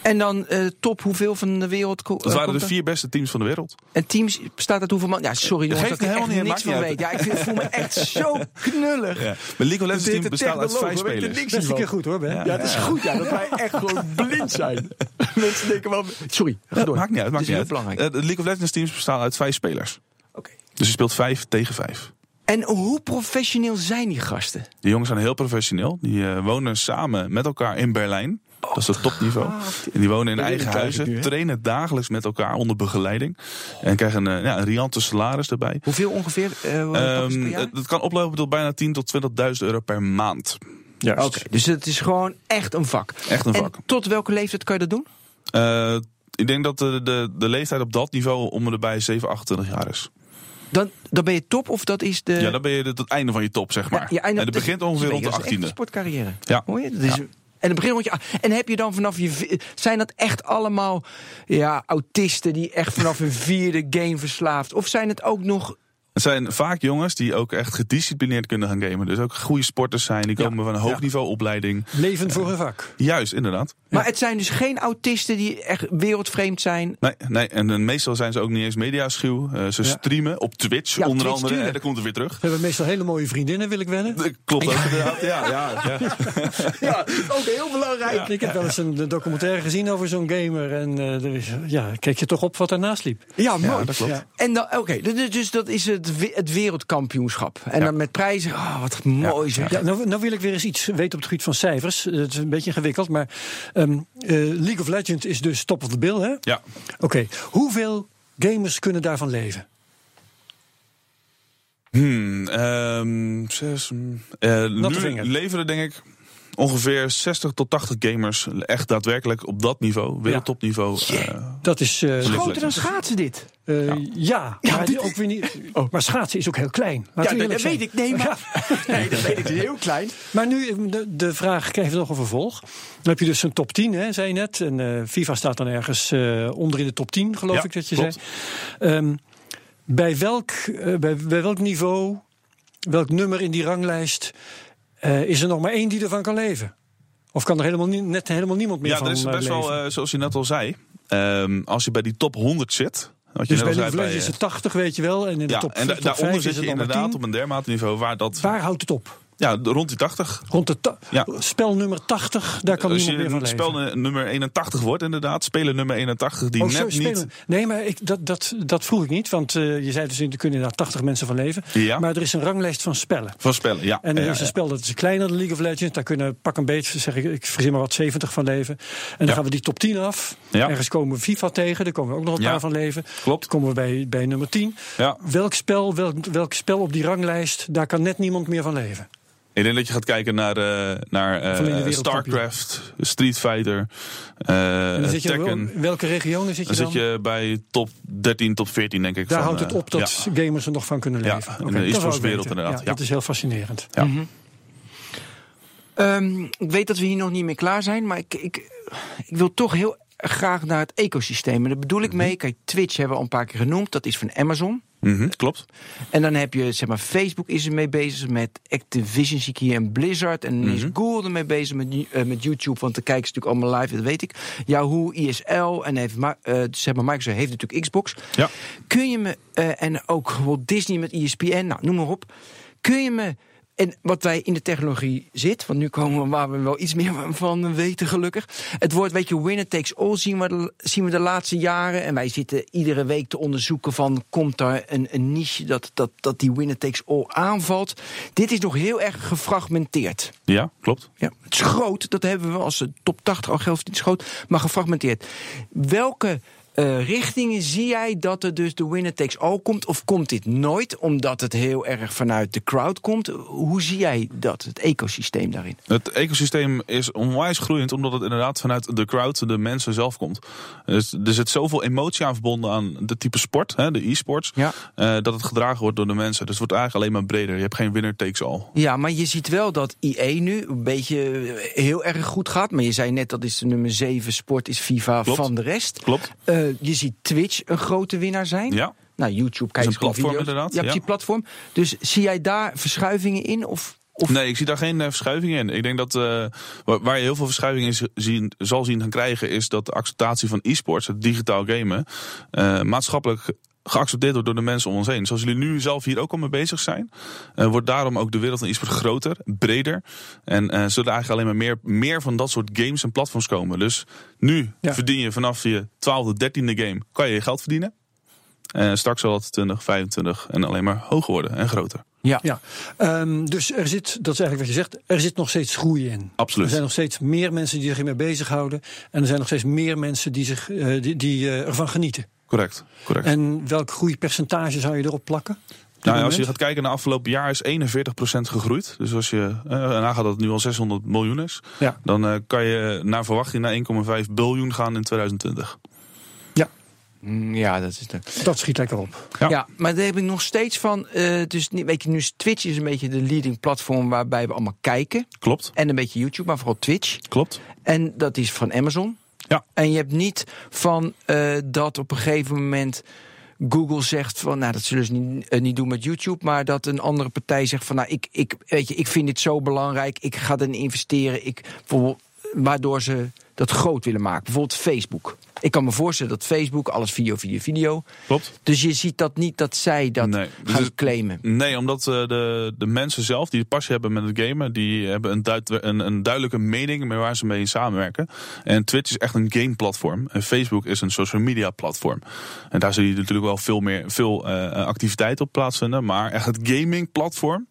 S1: En dan eh, top hoeveel van de wereld? ko-
S3: Dat
S1: eh,
S3: waren
S1: komt
S3: de
S1: er?
S3: vier beste teams van de wereld.
S1: En teams bestaat uit hoeveel man? Ja, sorry
S3: Dat
S1: jongens, dat
S3: geeft
S1: ik
S3: helemaal
S1: echt
S3: niet,
S1: niks
S3: maakt niet
S1: van
S3: uit.
S1: weet. Ja, ik vind- voel me echt zo knullig.
S3: Ja. Maar League of Legends
S1: Dit
S3: team
S1: de
S3: bestaat uit
S1: technoloog,
S3: vijf
S1: hoor, weet er
S3: spelers.
S1: niks
S2: Best een
S1: van.
S2: keer goed hoor, Ben.
S3: Ja.
S1: Ja, het is goed ja, dat wij echt gewoon blind zijn. Mensen denken wel... Sorry, ga door.
S3: Maakt niet uit, maakt
S1: Dit
S3: niet
S1: is
S3: uit.
S1: heel belangrijk.
S3: Eh, De League of Legends teams bestaan uit vijf spelers.
S1: Oké.
S3: Dus je speelt vijf tegen vijf.
S1: En hoe professioneel zijn die gasten?
S3: De jongens zijn heel professioneel. Die eh, wonen samen met elkaar in Berlijn. dat is
S1: Oh,
S3: het
S1: ah,
S3: topniveau. En die wonen in
S1: Dat weet
S3: eigen
S1: ik eigenlijk
S3: huizen.
S1: nu, hè?
S3: trainen dagelijks met elkaar onder begeleiding. En krijgen een, eh, ja, een riante salaris erbij.
S1: Hoeveel ongeveer? eh, wat is het per
S3: Ehm,
S1: jaar?
S3: het- dat kan oplopen tot bijna 10.000 tot 20.000 euro per maand.
S2: Juist.
S1: Oké, dus het is gewoon echt een vak.
S3: Echt een vak.
S1: En tot welke leeftijd kan je dat doen?
S3: Eh, ik denk dat de, de, de leeftijd op dat niveau om en erbij 7, 28 jaar is.
S1: Dan, dan ben je top of dat is de...
S3: ja, dan ben je het, het einde van je top, zeg maar.
S1: Eh. Ja,
S3: en
S1: dat-
S3: het begint ongeveer
S1: dat
S3: rond
S1: is
S3: de
S1: echt een
S3: 18e.
S1: sportcarrière.
S3: Ja.
S1: Hoor je? Dat is, En het begint rond je... a- En heb je dan vanaf je... vi- Zijn dat echt allemaal ja, autisten die echt vanaf hun vierde game verslaafd? Of zijn het ook nog...
S3: Het zijn vaak jongens die ook echt gedisciplineerd kunnen gaan gamen. Dus ook goede sporters zijn. Die komen van een hoog niveau opleiding.
S2: Leven voor hun vak.
S3: Juist, inderdaad.
S1: Maar het zijn dus geen autisten die echt wereldvreemd zijn.
S3: Nee, nee, en dan meestal zijn ze ook niet eens mediaschuw. Eh, ze
S2: Ja.
S3: streamen op Twitch,
S1: Ja,
S3: onder
S1: Twitch,
S3: andere.
S1: tuurlijk.
S3: En daar komt er weer terug.
S2: Ze hebben meestal hele mooie vriendinnen, wil ik wedden.
S3: Eh, Klopt ook inderdaad. Ja, ja, ja.
S1: Ja, ook heel belangrijk.
S2: Ik heb wel eens een documentaire gezien over zo'n gamer. En eh, er is- ja, keek je toch op wat daarnaast liep.
S1: Ja, mooi.
S3: dat klopt.
S2: Ja.
S1: En dan, oké, dus, dus dat is het, we- het wereldkampioenschap. En
S3: Ja.
S1: dan met prijzen, ah, wat mooi zeg.
S2: Ja, nou, nou wil ik weer eens iets weten op het gebied van cijfers. Eh, Het is een beetje ingewikkeld, maar ehm, eh, League of Legends is dus top of the bill, hè?
S3: ja.
S2: Oké, hoeveel gamers kunnen daarvan leven?
S3: Hmm, ehm, zes, mm, eh,
S2: Natte
S3: nu
S2: vinger.
S3: leveren denk ik ongeveer 60 tot 80 gamers echt daadwerkelijk op dat niveau, wereldtopniveau. eh,
S2: Dat is. eh,
S3: League of
S1: Groter dan
S3: Legends.
S1: schaatsen dit.
S2: eh, ja.
S1: Ja,
S2: maar
S1: dit-
S2: ook weer niet. Maar schaatsen is ook heel klein. Laten we
S1: ja, dat,
S2: eerlijk
S1: dat
S2: zijn.
S1: weet ik. Nee, maar, nee, dat weet ik. Het is heel klein.
S2: Maar nu, eh, de, de vraag krijgt nog een vervolg. Dan heb je dus een top 10, hè, zei je net. En eh, FIFA staat dan ergens eh, onder in de top 10, geloof
S3: Ja,
S2: ik dat je
S3: klopt.
S2: zei. Ehm, bij, welk, eh, bij, bij welk niveau, welk nummer in die ranglijst... eh, is er nog maar één die ervan kan leven? Of kan er helemaal nie- net helemaal niemand meer
S3: ja,
S2: van
S3: er is
S2: eh,
S3: best
S2: leven?
S3: wel, eh, zoals je net al zei, ehm, als je bij die top 100 zit. Wat je
S2: dus
S3: net
S2: bij
S3: al
S2: de
S3: zei,
S2: League is
S3: eh,
S2: het 80, weet je wel. En in de
S3: ja,
S2: top,
S3: en da-
S2: top
S3: daaronder
S2: 5
S3: zit
S2: is het
S3: je
S2: dan maar
S3: inderdaad
S2: 10.
S3: op een dermate niveau waar dat
S2: Waar houdt het op?
S3: ja, rond die 80.
S2: Rond de ta-
S3: Ja.
S2: spelnummer 80, daar kan
S3: Als
S2: niemand
S3: je
S2: meer van
S3: een
S2: leven.
S3: spel nummer 81 wordt, inderdaad, speler nummer 81 die
S2: Oh, zo
S3: net
S2: spelen.
S3: niet.
S2: Nee, maar ik, dat, dat, dat vroeg ik niet. Want eh, je zei dus, er kunnen inderdaad 80 mensen van leven.
S3: Ja.
S2: Maar er is een ranglijst van spellen.
S3: Van spellen, ja.
S2: En er
S3: ja,
S2: is
S3: ja.
S2: een spel dat is kleiner dan League of Legends. Daar kunnen pak een beetje, zeg ik, ik verzin maar wat, 70 van leven. En dan
S3: Ja.
S2: gaan we die top 10 af.
S3: Ja.
S2: Ergens komen we FIFA tegen, daar komen we ook nog een
S3: Ja.
S2: paar van leven.
S3: Klopt.
S2: Dan komen we bij, bij nummer 10.
S3: Ja.
S2: Welk, spel, welk, welk spel op die ranglijst, daar kan net niemand meer van leven?
S3: Ik denk dat je gaat kijken naar, eh, naar eh,
S2: Van in de wereldkampioen.
S3: StarCraft, Street Fighter, eh,
S2: En dan zit je, wel-
S3: Tekken.
S2: in welke regionen zit je
S3: Dan
S2: dan?
S3: zit je bij top 13, top 14 denk ik.
S2: daar
S3: van,
S2: houdt het
S3: eh,
S2: op dat
S3: ja.
S2: gamers er nog van kunnen
S3: Ja,
S2: leven. Oké,
S3: in de
S2: dat wou ik
S3: e-sportswereld
S2: weten.
S3: inderdaad,
S2: Ja,
S3: ja.
S2: Dat is heel fascinerend.
S3: Ja.
S1: Ehm, ik weet dat we hier nog niet mee klaar zijn, maar ik, ik, ik wil toch heel graag naar het ecosysteem. En daar bedoel ik mee, kijk, Twitch hebben we al een paar keer genoemd, dat is van Amazon.
S3: Mhm, klopt.
S1: En dan heb je, zeg maar, Facebook is ermee bezig met Activision, zie ik hier, en Blizzard. En is Google ermee bezig met, eh, met YouTube, want de kijken ze natuurlijk allemaal live, dat weet ik. Yahoo, ISL en heeft, Ma- eh, zeg maar, Microsoft heeft natuurlijk Xbox.
S3: Ja.
S1: E Kun je me, eh, en ook Walt Disney met ESPN, nou, noem maar op. Kun je me En wat wij in de technologie zit, want nu komen we waar we wel iets meer van weten gelukkig. Het woord, weet je, winner takes all zien we, de- zien we de laatste jaren. En wij zitten iedere week te onderzoeken van, komt daar een, een niche dat, dat, dat die winner takes all aanvalt. Dit is nog heel erg gefragmenteerd.
S3: Ja, klopt.
S1: Ja, het is groot, dat hebben we als eh, top 80 al geld niet groot, maar gefragmenteerd. Welke eh, richtingen zie jij dat er dus de winner takes all komt? Of komt dit nooit omdat het heel erg vanuit de crowd komt? Hoe zie jij dat, het ecosysteem daarin?
S3: Het ecosysteem is onwijs groeiend, omdat het inderdaad vanuit de crowd, de mensen zelf komt. Dus er zit zoveel emotie aan verbonden aan de type sport, hè, de e-sports,
S1: Ja.
S3: eh, dat het gedragen wordt door de mensen. Dus het wordt eigenlijk alleen maar breder. Je hebt geen winner takes all.
S1: Ja, maar je ziet wel dat IE nu een beetje eh, heel erg goed gaat. Maar je zei net dat is de nummer 7 sport is FIFA
S3: Klopt.
S1: van de rest.
S3: Klopt.
S1: Eh, je ziet Twitch een grote winnaar zijn.
S3: Ja.
S1: Nou, YouTube kijkt
S3: een platform inderdaad,
S1: Ja,
S3: ja.
S1: die platform. Dus zie jij daar verschuivingen in? Of, of
S3: Nee, ik zie daar geen eh, verschuiving in. Ik denk dat eh, waar, waar je heel veel verschuiving in z- zien, zal zien gaan krijgen, is dat de acceptatie van e-sports, het digitaal gamen, eh, maatschappelijk ge- geaccepteerd wordt door de mensen om ons heen. Zoals jullie nu zelf hier ook al mee bezig zijn, eh, wordt daarom ook de wereld van e-sport groter, breder. En eh, zullen er eigenlijk alleen maar meer, meer van dat soort games en platforms komen. Dus nu
S2: Ja.
S3: verdien je vanaf je 12e, 13e game, kan je je geld verdienen. Eh, straks zal dat 20, 25 en alleen maar hoger worden en groter.
S2: Ja, ehm, dus er zit, dat is eigenlijk wat je zegt, er zit nog steeds groei in.
S3: Absoluut.
S2: Er zijn nog steeds meer mensen die zich ermee bezighouden. En er zijn nog steeds meer mensen die, zich, eh, die, die eh, ervan genieten.
S3: Correct, correct.
S2: En welk groeipercentage zou je erop plakken? op dit
S3: Nou, ja, als
S2: moment?
S3: je gaat kijken naar afgelopen jaar is 41% gegroeid. Dus als je eh, nagaat dat het nu al 600 miljoen is,
S2: Ja.
S3: dan eh, kan je naar verwachting naar 1,5 biljoen gaan in 2020.
S1: Mm, Ja, dat is de...
S2: Dat schiet lekker op.
S3: Ja.
S1: ja. maar daar heb ik nog steeds van. eh, dus niet- weet je, nu is Twitch is een beetje de leading platform waarbij we allemaal kijken.
S3: Klopt,
S1: En een beetje YouTube, maar vooral Twitch.
S3: klopt.
S1: En dat is van Amazon.
S3: Ja.
S1: En je hebt niet van eh, dat op een gegeven moment Google zegt van, nou dat zullen ze niet, eh, niet doen met YouTube, maar dat een andere partij zegt van, nou ik, ik, weet je, ik vind dit zo belangrijk, ik ga erin investeren, ik, bijvoorbeeld, waardoor ze dat groot willen maken. Bijvoorbeeld Facebook. Ik kan me voorstellen dat Facebook alles video, video, video.
S3: Klopt.
S1: Dus je ziet dat niet dat zij dat
S3: Nee, dus
S1: gaan
S3: het-
S1: claimen.
S3: Nee, omdat eh, de, de mensen zelf die passie hebben met het gamen, die hebben een, duid- een, een duidelijke mening met waar ze mee samenwerken. En Twitch is echt een gameplatform. En Facebook is een social media platform. En daar zul je natuurlijk wel veel meer veel eh, activiteit op plaatsvinden. Maar echt het gaming platform,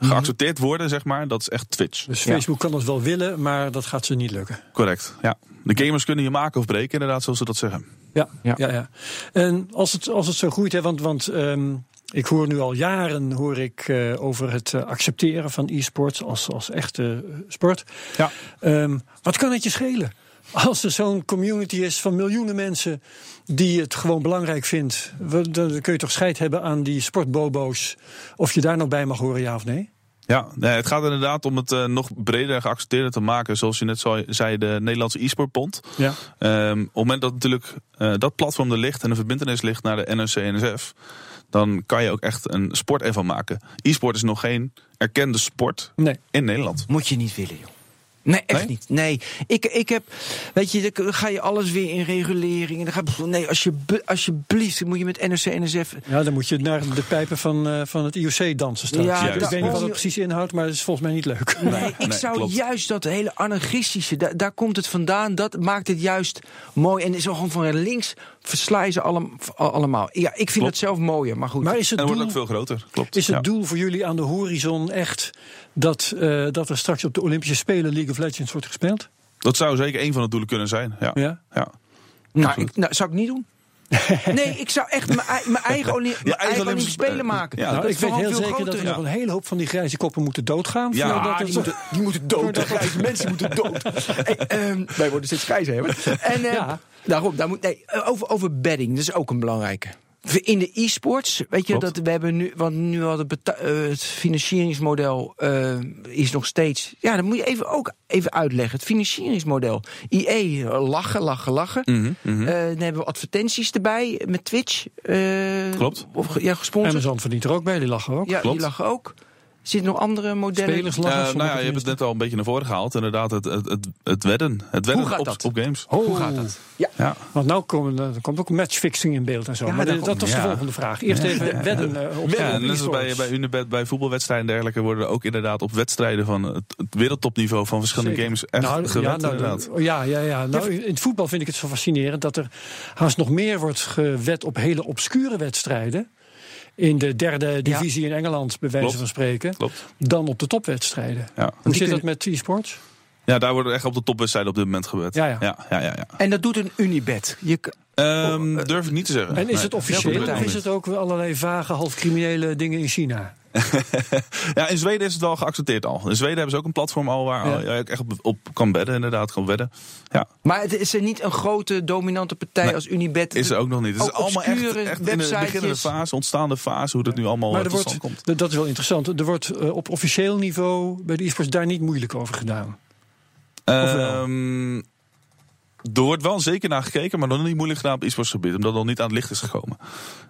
S3: geaccepteerd worden, zeg maar, dat is echt Twitch.
S2: Mhm. Dus
S1: Ja.
S2: Facebook kan dat wel willen, maar dat gaat ze niet lukken.
S3: Correct. Ja. De gamers kunnen je maken of breken, inderdaad, zoals ze dat zeggen.
S2: Ja,
S1: Ja.
S2: ja. ja, En als het, als het zo groeit, hè, want, want ehm, ik hoor nu al jaren hoor ik, eh, over het eh, accepteren van e-sports als, als echte eh, sport.
S3: Ja.
S2: Ehm, wat kan het je schelen? Als er zo'n community is van miljoenen mensen die het gewoon belangrijk vindt, we- dan kun je toch scheid hebben aan die sportbobo's. Of je daar nou bij mag horen, ja of nee?
S3: Ja, nee, het gaat inderdaad om het eh, nog breder en geaccepteerder te maken. Zoals je net zo- zei, de Nederlandse e-sportbond.
S2: Ja.
S3: Ehm, op het moment dat natuurlijk eh, dat platform er ligt en een verbindenis ligt naar de NOC en NSF, dan kan je ook echt een sport ervan maken. E-sport is nog geen erkende sport
S2: Nee.
S3: in Nederland.
S1: Moet je niet willen, joh. Nee, echt
S3: Nee?
S1: niet. Nee, ik, ik heb. Weet je, dan ga je alles weer in regulering. En dan ga, pff, nee, als je, alsjeblieft, dan moet je met NRC en NSF.
S2: Ja, dan moet je naar de pijpen van, eh, van het IOC dansen staan.
S1: Ja,
S2: ik weet niet wat
S1: daarom-
S2: het precies inhoudt, maar dat is volgens mij niet leuk.
S1: Nee, ik
S3: nee,
S1: zou
S3: klopt.
S1: juist dat hele anarchistische, da- daar komt het vandaan. Dat maakt het juist mooi. En zo gewoon van links versla je ze allem- al- allemaal. Ja, ik vind
S3: Klopt.
S1: dat zelf mooier, maar goed.
S2: Maar is
S3: En
S2: het
S3: dat wordt
S2: doel-
S3: ook veel groter. Klopt.
S2: Is het
S3: Ja.
S2: doel voor jullie aan de horizon echt dat, eh, dat er straks op de Olympische Spelen League of Legends wordt gespeeld?
S3: Dat zou zeker een van de doelen kunnen zijn. Ja.
S2: Ja.
S3: Ja.
S1: nou, ik, nou, zou ik niet doen. Nee, ik zou echt mijn ei- mijn eigen, Olymp- mijn
S3: eigen
S1: eigen Olympische
S3: Olympische
S1: Spelen
S3: Spelen.
S1: maken.
S3: Ja.
S2: nou,
S1: dat
S2: ik
S1: is
S2: weet
S1: vooral
S2: heel
S1: veel
S2: zeker dat
S1: groter.
S2: er nog een hele hoop van die grijze koppen moeten doodgaan.
S3: Ja,
S2: voordat
S3: die
S2: het-
S3: moeten-
S1: Ah, Die moeten dood. De grijze mensen moeten dood. Hey, ehm, wij worden steeds grijzer, hè? hoor. En eh,
S2: Ja.
S1: daarom, daar moet, nee, over, over bedding, dat is ook een belangrijke. In de e-sports, weet je,
S3: Klopt.
S1: dat we hebben nu, want nu al het, beta- eh, het financieringsmodel eh, is nog steeds. Ja, dat moet je even ook even uitleggen. Het financieringsmodel. IE, eh, lachen, lachen, lachen.
S3: Mhm, mhm.
S1: Eh, dan hebben we advertenties erbij met Twitch. eh,
S3: Klopt.
S1: Of, ge- ja, gesponsord.
S2: Amazon verdient er ook bij, die lachen ook.
S1: Ja,
S3: Klopt.
S1: die lachen ook. Zitten nog andere modellen?
S2: Spelerslang.
S3: Eh, nou ja, je hebt het net al een beetje naar voren gehaald. Inderdaad, het, het, het, het wedden. Het wedden
S1: gaat
S3: op,
S1: dat?
S3: op games.
S1: Hoe gaat dat?
S3: Ja.
S2: Oh, Want nou komen, er komt ook matchfixing in beeld en zo.
S1: Ja,
S2: maar
S1: daar
S2: dit- dat
S1: komt-
S2: was
S3: ja.
S2: de volgende vraag. Eerst even wedden eh, op
S3: Ja,
S2: op
S3: net als bij,
S2: e-sports.
S3: bij Unibet, bij voetbalwedstrijden en dergelijke... worden er ook inderdaad op wedstrijden van het, het wereldtopniveau... van verschillende
S2: Zeker.
S3: games echt
S2: Nou,
S3: gewed,
S2: ja, nou,
S3: inderdaad.
S2: Ja, ja, ja. Nou, in het voetbal vind ik het zo fascinerend dat er haast nog meer wordt gewet op hele obscure wedstrijden. In de derde divisie in Engeland, bij wijze
S3: Klopt.
S2: van spreken,
S3: Klopt.
S2: dan op de topwedstrijden.
S3: Ja.
S2: Hoe
S1: Die
S2: zit dat
S1: kunnen-
S2: met e-sports?
S3: ja, daar worden echt op de topwedstrijden op dit moment gewed.
S2: Ja, ja.
S3: ja, ja, ja, ja.
S1: En dat doet een Unibet. Je, k-
S3: Ehm, durf ik niet te zeggen.
S2: En is
S3: Nee.
S2: het officieel
S3: Ja,
S2: of is het ook allerlei vage, half criminele dingen in China?
S3: Oh, Ja, in Zweden is het wel geaccepteerd al. In Zweden hebben ze ook een platform al waar
S2: Ja.
S3: je ook echt op, op kan bedden, inderdaad, kan wedden. Ja,
S1: maar het is er niet een grote dominante partij
S3: Nee,
S1: als Unibet.
S3: is er ook nog niet. Het is
S1: Ook
S3: allemaal echt,
S1: obscure
S3: echt in de beginnende
S1: websitejes.
S3: fase, ontstaande fase, hoe dat nu allemaal
S2: Maar
S3: eh,
S2: er
S3: tot stand
S2: wordt,
S3: komt.
S2: d- dat is wel interessant, er wordt eh, op officieel niveau bij de e-sports daar niet moeilijk over gedaan. wel?
S3: Ehm, er wordt wel zeker naar gekeken, maar nog niet moeilijk gedaan op e-sports gebied, omdat het nog niet aan het licht is gekomen.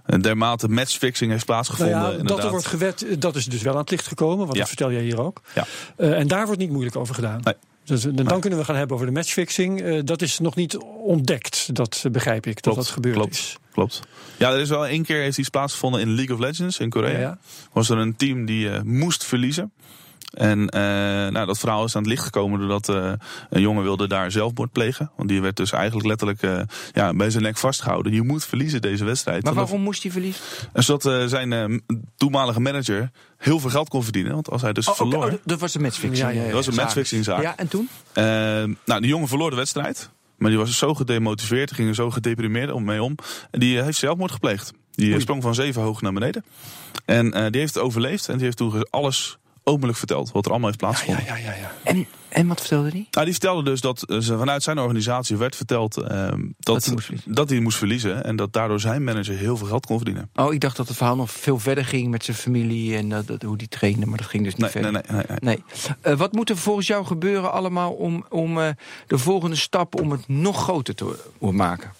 S3: En dermate matchfixing heeft plaatsgevonden,
S2: Nou ja, dat
S3: inderdaad.
S2: er wordt gewet, eh, dat is dus wel aan het licht gekomen, want
S3: Ja.
S2: dat vertel jij hier ook.
S3: Ja.
S2: Eh, en daar wordt niet moeilijk over gedaan.
S3: Nee.
S2: Dus, eh, dan kunnen we gaan hebben over de matchfixing. Eh, dat is nog niet ontdekt, dat eh, begrijp ik, dat
S3: Klopt,
S2: dat gebeurd
S3: klopt.
S2: is.
S3: Klopt. Ja, er is wel één keer heeft iets plaatsgevonden in League of Legends in Korea.
S2: Ja, ja.
S3: was er een team die eh, moest verliezen. En eh, nou, dat verhaal is aan het licht gekomen doordat eh, een jongen wilde daar zelfmoord plegen. Want die werd dus eigenlijk letterlijk eh, ja, bij zijn nek vastgehouden. Je moet verliezen deze wedstrijd.
S1: Maar
S3: En dat-
S1: waarom moest hij verliezen? Oh,
S3: en zodat eh, zijn eh, m- toenmalige manager heel veel geld kon verdienen. Want als hij dus
S1: Oh, oké,
S3: verloor...
S1: oh, dat- dat was een matchfixing.
S2: Ja, ja, ja.
S3: Dat was een matchfixingzaak.
S1: Ja, en toen?
S3: Eh, nou, die jongen verloor de wedstrijd. Maar die was zo gedemotiveerd, ging er zo gedeprimeerd om mee om. En die eh, heeft zelfmoord gepleegd. Die eh, sprong van zeven hoog naar beneden. En eh, die heeft overleefd en die heeft toen alles openlijk verteld. Wat er allemaal heeft plaatsgevonden.
S2: ja, ja, ja.
S1: En, en wat vertelde hij?
S3: Nou, die vertelde dus dat eh, ze vanuit zijn organisatie werd verteld ehm, dat,
S1: Dat hij moest verliezen.
S3: dat hij moest verliezen. En dat daardoor zijn manager heel veel geld kon verdienen.
S1: Oh, ik dacht dat het verhaal nog veel verder ging met zijn familie en eh, dat, dat- hoe die trainde, maar dat ging dus niet
S3: Nee, nee,
S1: verder.
S3: nee. nee, nee.
S1: Nee. Eh, wat moet er volgens jou gebeuren allemaal om, om eh, de volgende stap om het nog groter te te maken?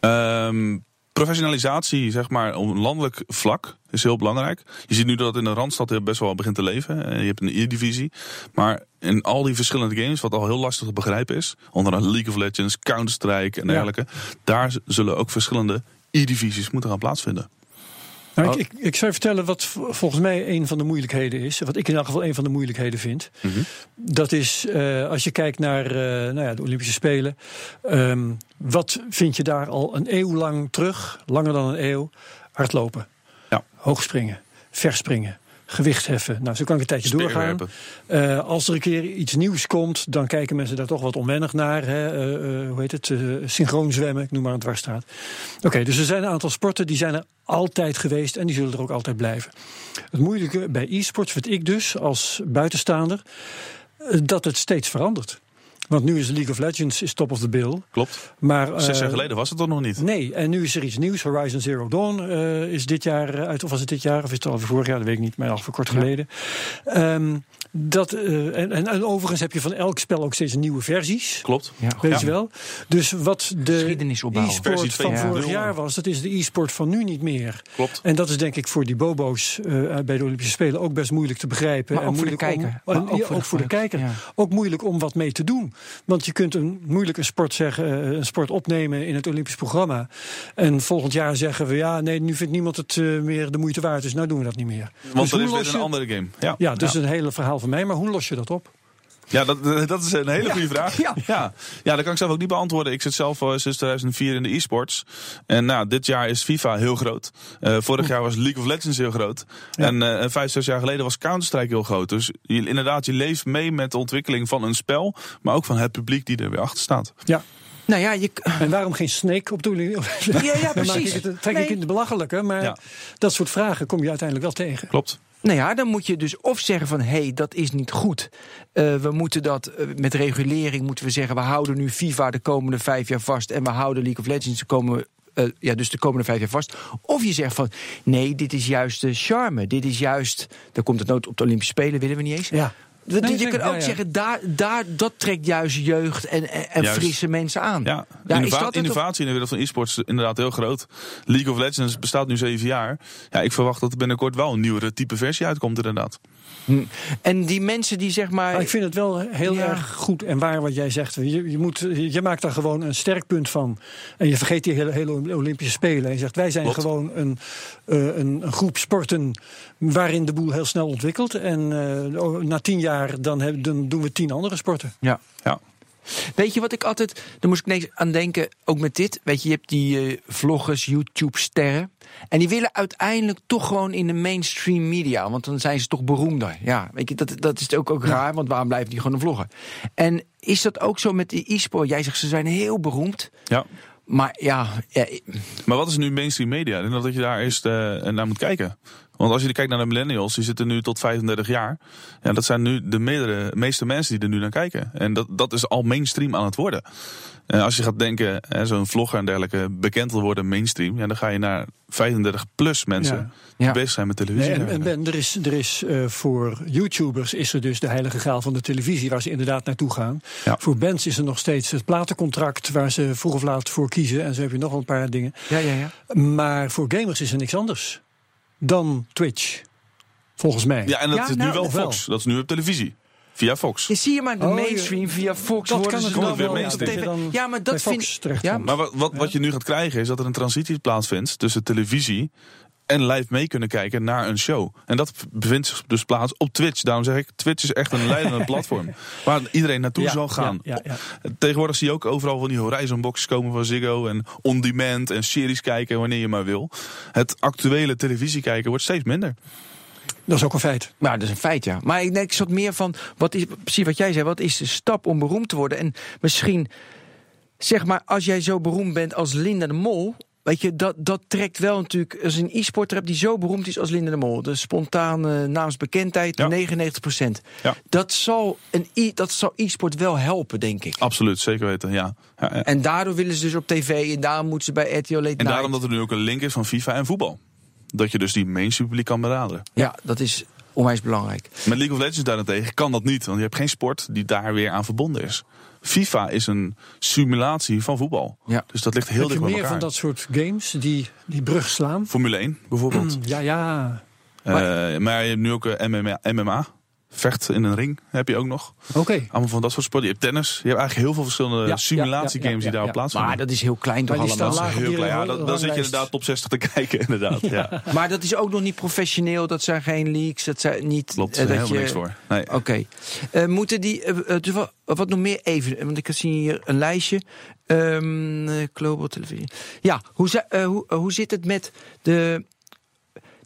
S3: Ehm, professionalisatie, zeg maar, op landelijk vlak is heel belangrijk. Je ziet nu dat het in de Randstad heel best wel begint te leven. Eh, Je hebt een E-divisie. Maar in al die verschillende games, wat al heel lastig te begrijpen is, onder andere League of Legends, Counter-Strike en dergelijke, daar z- zullen ook verschillende E-divisies moeten gaan plaatsvinden.
S2: Nou, ik, ik, ik zou je vertellen wat v- volgens mij een van de moeilijkheden is. Wat ik in elk geval een van de moeilijkheden vind. Dat is eh, als je kijkt naar eh, nou ja, de Olympische Spelen. ehm, wat vind je daar al een eeuw lang terug, langer dan een eeuw? Hardlopen,
S3: Ja.
S2: hoogspringen, verspringen, gewicht heffen. Nou, zo kan ik een tijdje doorgaan.
S3: Speerwerpen.
S2: Eh, als er een keer iets nieuws komt, dan kijken mensen daar toch wat onwennig naar. Hè? Eh, eh, hoe heet het? eh, synchroon zwemmen, ik noem maar een dwarsstraat. Oké, dus er zijn een aantal sporten die zijn er altijd geweest en die zullen er ook altijd blijven. Het moeilijke bij e-sports vind ik dus als buitenstaander eh, dat het steeds verandert. Want nu is League of Legends is top of the bill.
S3: Klopt.
S2: Maar, eh,
S3: Zes jaar geleden was het er nog niet.
S2: Nee, en nu is er iets nieuws. Horizon Zero Dawn eh, is dit jaar eh, uit, of was het dit jaar, of is het al vorig jaar, dat weet ik niet, maar al voor kort geleden. Ehm, dat, eh, en, en, en overigens heb je van elk spel ook steeds nieuwe versies.
S3: Klopt.
S1: Ja.
S2: Weet
S3: Ja.
S2: je wel? Dus wat de
S1: Geschiedenis opbouwen.
S2: e-sport
S3: Versie
S2: van
S3: 2.0.
S2: vorig jaar was, dat is de e-sport van nu niet meer.
S3: Klopt.
S2: En dat is denk ik voor die bobo's eh, bij de Olympische Spelen ook best moeilijk te begrijpen.
S1: Maar
S2: en
S1: ook voor de
S2: moeilijk om-
S1: kijker.
S2: en
S1: Maar
S2: ja, ook, voor de, kijker.
S1: ja.
S2: Ook moeilijk om wat mee te doen. Want je kunt een moeilijke sport, zeggen, eh, een sport opnemen in het Olympisch programma. En volgend jaar zeggen we, ja, nee, nu vindt niemand het eh, meer de moeite waard. Dus nou doen we dat niet meer. dus
S3: Want er
S2: hoe
S3: is
S2: los
S3: weer een
S2: je-
S3: andere game. Ja,
S2: Ja, dus een hele verhaal van mij. Maar hoe los je dat op?
S3: Ja, dat, dat is een hele goede vraag.
S1: Ja.
S3: Ja. Ja. dat kan ik zelf ook niet beantwoorden. Ik zit zelf al sinds 2004 in de e-sports. En nou, dit jaar is FIFA heel groot. Eh, vorig jaar was League of Legends heel groot. En eh, vijf, zes jaar geleden was Counter-Strike heel groot. Dus je, inderdaad, je leeft mee met de ontwikkeling van een spel. Maar ook van het publiek die er weer achter staat.
S2: Ja.
S1: Nou ja, je, k-
S2: En waarom geen snake op de Olympische Spelen?
S1: Ja, ja,
S2: Dan maak
S1: precies.
S2: ik het- Trek
S1: Nee.
S2: ik in de belachelijke. Maar
S3: Ja.
S2: dat soort vragen kom je uiteindelijk wel tegen.
S3: Klopt.
S1: nou ja, dan moet je dus of zeggen van hé, hey, dat is niet goed. Eh, we moeten dat eh, met regulering moeten we zeggen, we houden nu FIFA de komende vijf jaar vast en we houden League of Legends de komende. eh, ja, dus de komende vijf jaar vast. Of je zegt van nee, dit is juist de charme. Dit is juist. Dan komt het nooit op de Olympische Spelen, willen we niet eens.
S2: Ja.
S1: Want
S2: Nee,
S1: je
S2: zeker.
S1: kunt ook
S2: Ja, ja.
S1: zeggen, daar, daar, dat trekt juist jeugd en, en, en
S3: Juist.
S1: frisse mensen aan.
S3: Ja,
S1: Ja, is
S3: innova-
S1: dat het of-
S3: innovatie in de wereld van e-sports is inderdaad heel groot. League of Legends bestaat nu zeven jaar. Ja, ik verwacht dat er binnenkort wel een nieuwere type versie uitkomt inderdaad.
S1: En die mensen die zeg maar...
S2: Maar ik vind het wel heel
S1: Ja.
S2: erg goed en waar wat jij zegt. Je, je, moet, je maakt daar gewoon een sterk punt van. En je vergeet die hele, hele Olympische Spelen. En je zegt, wij zijn
S3: Klopt.
S2: gewoon een, eh, een, een groep sporten waarin de boel heel snel ontwikkelt. En eh, oh, na tien jaar dan, heb- dan doen we tien andere sporten.
S1: Ja.
S3: Ja.
S1: Weet je wat ik altijd. Daar moest ik niks aan denken. Ook met dit. Weet je, je hebt die eh, vloggers, YouTube-sterren. En die willen uiteindelijk toch gewoon in de mainstream media. Want dan zijn ze toch beroemder. Ja, weet je, dat, dat is ook, ook raar. Want waarom blijven die gewoon een vlogger? En is dat ook zo met die e-sport? Jij zegt ze zijn heel beroemd.
S3: Ja.
S1: Maar ja, ja, ik-
S3: Maar wat is nu mainstream media? Ik denk dat je daar eerst eh, naar moet kijken. Want als je kijkt naar de millennials, die zitten nu tot 35 jaar. Ja, dat zijn nu de meerdere, meeste mensen die er nu naar kijken. En dat, dat is al mainstream aan het worden. Eh, als je gaat denken, hè, zo'n vlogger en dergelijke bekend wil worden mainstream. Ja, dan ga je naar 35 plus mensen
S2: Ja.
S3: die
S1: Ja.
S3: bezig zijn met televisie.
S2: Nee, en, en Ben, er is, er is eh, voor YouTubers is er dus de heilige graal van de televisie waar ze inderdaad naartoe gaan.
S3: Ja.
S2: Voor bands is er nog steeds het platencontract waar ze vroeg of laat voor kiezen. En zo heb je nog wel een paar dingen.
S1: ja, ja, ja.
S2: Maar voor gamers is er niks anders dan Twitch. Volgens mij.
S3: Ja, en dat
S1: Ja,
S3: is nu
S1: nou,
S3: wel op
S2: wel.
S3: Fox. Dat is nu op televisie. Via Fox.
S1: Je zie je maar de
S2: Oh, ja.
S1: mainstream via Fox.
S2: dat
S1: worden
S2: kan
S1: ze
S2: het
S3: dan
S2: wel
S3: weer
S2: wel.
S3: mee
S2: ja,
S3: steken.
S2: dat je dan
S1: Ja, maar dat
S2: bij Fox
S1: vind-
S2: terecht
S1: ja,
S2: komt.
S3: Maar wat, wat, wat je nu gaat krijgen is dat er een transitie plaatsvindt tussen televisie en live mee kunnen kijken naar een show. En dat bevindt zich dus plaats op Twitch. Daarom zeg ik, Twitch is echt een leidende platform. Waar iedereen naartoe
S2: Ja,
S3: zal gaan.
S2: ja, ja,
S3: Tegenwoordig zie je ook overal van die Horizon boxes komen van Ziggo. En on demand en series kijken wanneer je maar wil. Het actuele televisie kijken wordt steeds minder.
S2: Dat is ook een feit.
S1: Maar dat is een feit, ja. Maar ik denk zat meer van, wat is, precies wat jij zei, wat is de stap om beroemd te worden? En misschien, zeg maar, als jij zo beroemd bent als Linda de Mol, weet je, dat, dat trekt wel natuurlijk, als je een e-sporter hebt die zo beroemd is als Linda de Mol, de spontane naamsbekendheid,
S3: Ja.
S1: 99%.
S3: Ja.
S1: Dat zal een e- dat zal e-sport wel helpen, denk ik.
S3: Absoluut, zeker weten. Ja. Ja, ja.
S1: En daardoor willen ze dus op tv en daarom moeten ze bij RTL Late
S3: En
S2: Nou,
S1: Night.
S3: daarom dat er nu ook een link is van FIFA en voetbal. Dat je dus die mainstream publiek kan benaderen.
S1: Ja, dat is onwijs belangrijk.
S3: Met League of Legends daarentegen kan dat niet, want je hebt geen sport die daar weer aan verbonden is. FIFA is een simulatie van voetbal.
S1: Ja.
S3: Dus dat ligt heel
S2: heb je
S3: dicht bij
S2: meer
S3: elkaar.
S2: van dat soort games die die brug slaan?
S3: Formule 1 bijvoorbeeld.
S2: Ja, ja.
S3: Eh, maar je hebt nu ook eh, MMA, MMA. Vecht in een ring heb je ook nog.
S2: Oké.
S3: Allemaal van dat soort sporten. Je hebt tennis. Je hebt eigenlijk heel veel verschillende
S2: ja,
S3: simulatiegames
S2: ja, ja,
S3: die
S2: ja,
S3: daarop
S2: ja.
S3: plaatsvinden.
S1: Maar dat is heel klein toch
S2: Maar die
S1: allemaal.
S2: staan laag op
S3: heel
S2: die
S3: klein. Ja, dan, dan zit je
S2: ranglijst.
S3: inderdaad top 60 te kijken, inderdaad. Ja.
S1: Maar dat is ook nog niet professioneel. Dat zijn geen leaks. Dat zijn niet.
S3: Klopt,
S1: eh,
S3: er
S1: dat
S3: helemaal
S1: je-
S3: niks voor. Nee.
S1: Oké. Eh, moeten die. eh, eh, dus wat, wat nog meer even. eh, Want ik zie hier een lijstje. Ehm, eh, Global Televisie. Ja, hoe, zi- eh, hoe, eh, hoe zit het met de.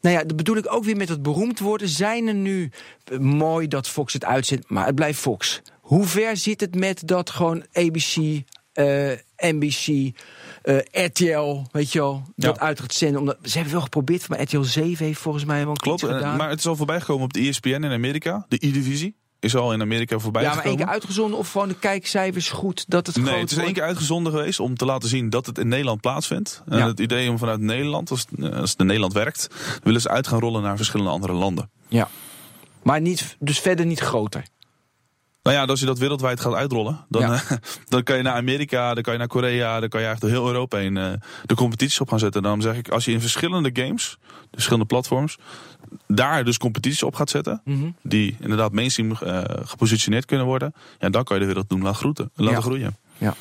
S1: Nou ja, dat bedoel ik ook weer met het beroemd worden. Zijn er nu. eh, mooi dat Fox het uitzendt, maar het blijft Fox. Hoe ver zit het met dat gewoon ABC, eh, NBC, eh, RTL, weet je wel, dat
S3: Ja.
S1: uit gaat zenden? Omdat, ze hebben wel geprobeerd, maar RTL 7 heeft volgens mij wel een
S3: Klopt, eh,
S1: keertje
S3: en-
S1: gedaan.
S3: maar het is al voorbij gekomen op de E ESPN in Amerika. De E-divisie is al in Amerika voorbij
S1: Ja, maar
S3: gekomen.
S1: één keer uitgezonden of gewoon de kijkcijfers goed dat het
S3: Nee,
S1: groot
S3: het is één
S1: wordt?
S3: keer uitgezonden geweest om te laten zien dat het in Nederland plaatsvindt. En
S1: Ja.
S3: het idee om vanuit Nederland, als, eh, als het in Nederland werkt, willen ze uit gaan rollen naar verschillende andere landen.
S1: Ja. Maar niet, dus verder niet groter.
S3: Nou ja, als je dat wereldwijd gaat uitrollen, dan,
S1: Ja.
S3: eh, dan kan je naar Amerika, dan kan je naar Korea, dan kan je eigenlijk door heel Europa heen eh, de competities op gaan zetten. Daarom zeg ik, als je in verschillende games, de verschillende platforms, daar dus competities op gaat zetten,
S2: Mhm.
S3: die inderdaad mainstream eh, gepositioneerd kunnen worden, ja, dan kan je de wereld doen laten, groeten, laten
S1: Ja.
S3: groeien.
S1: Ja.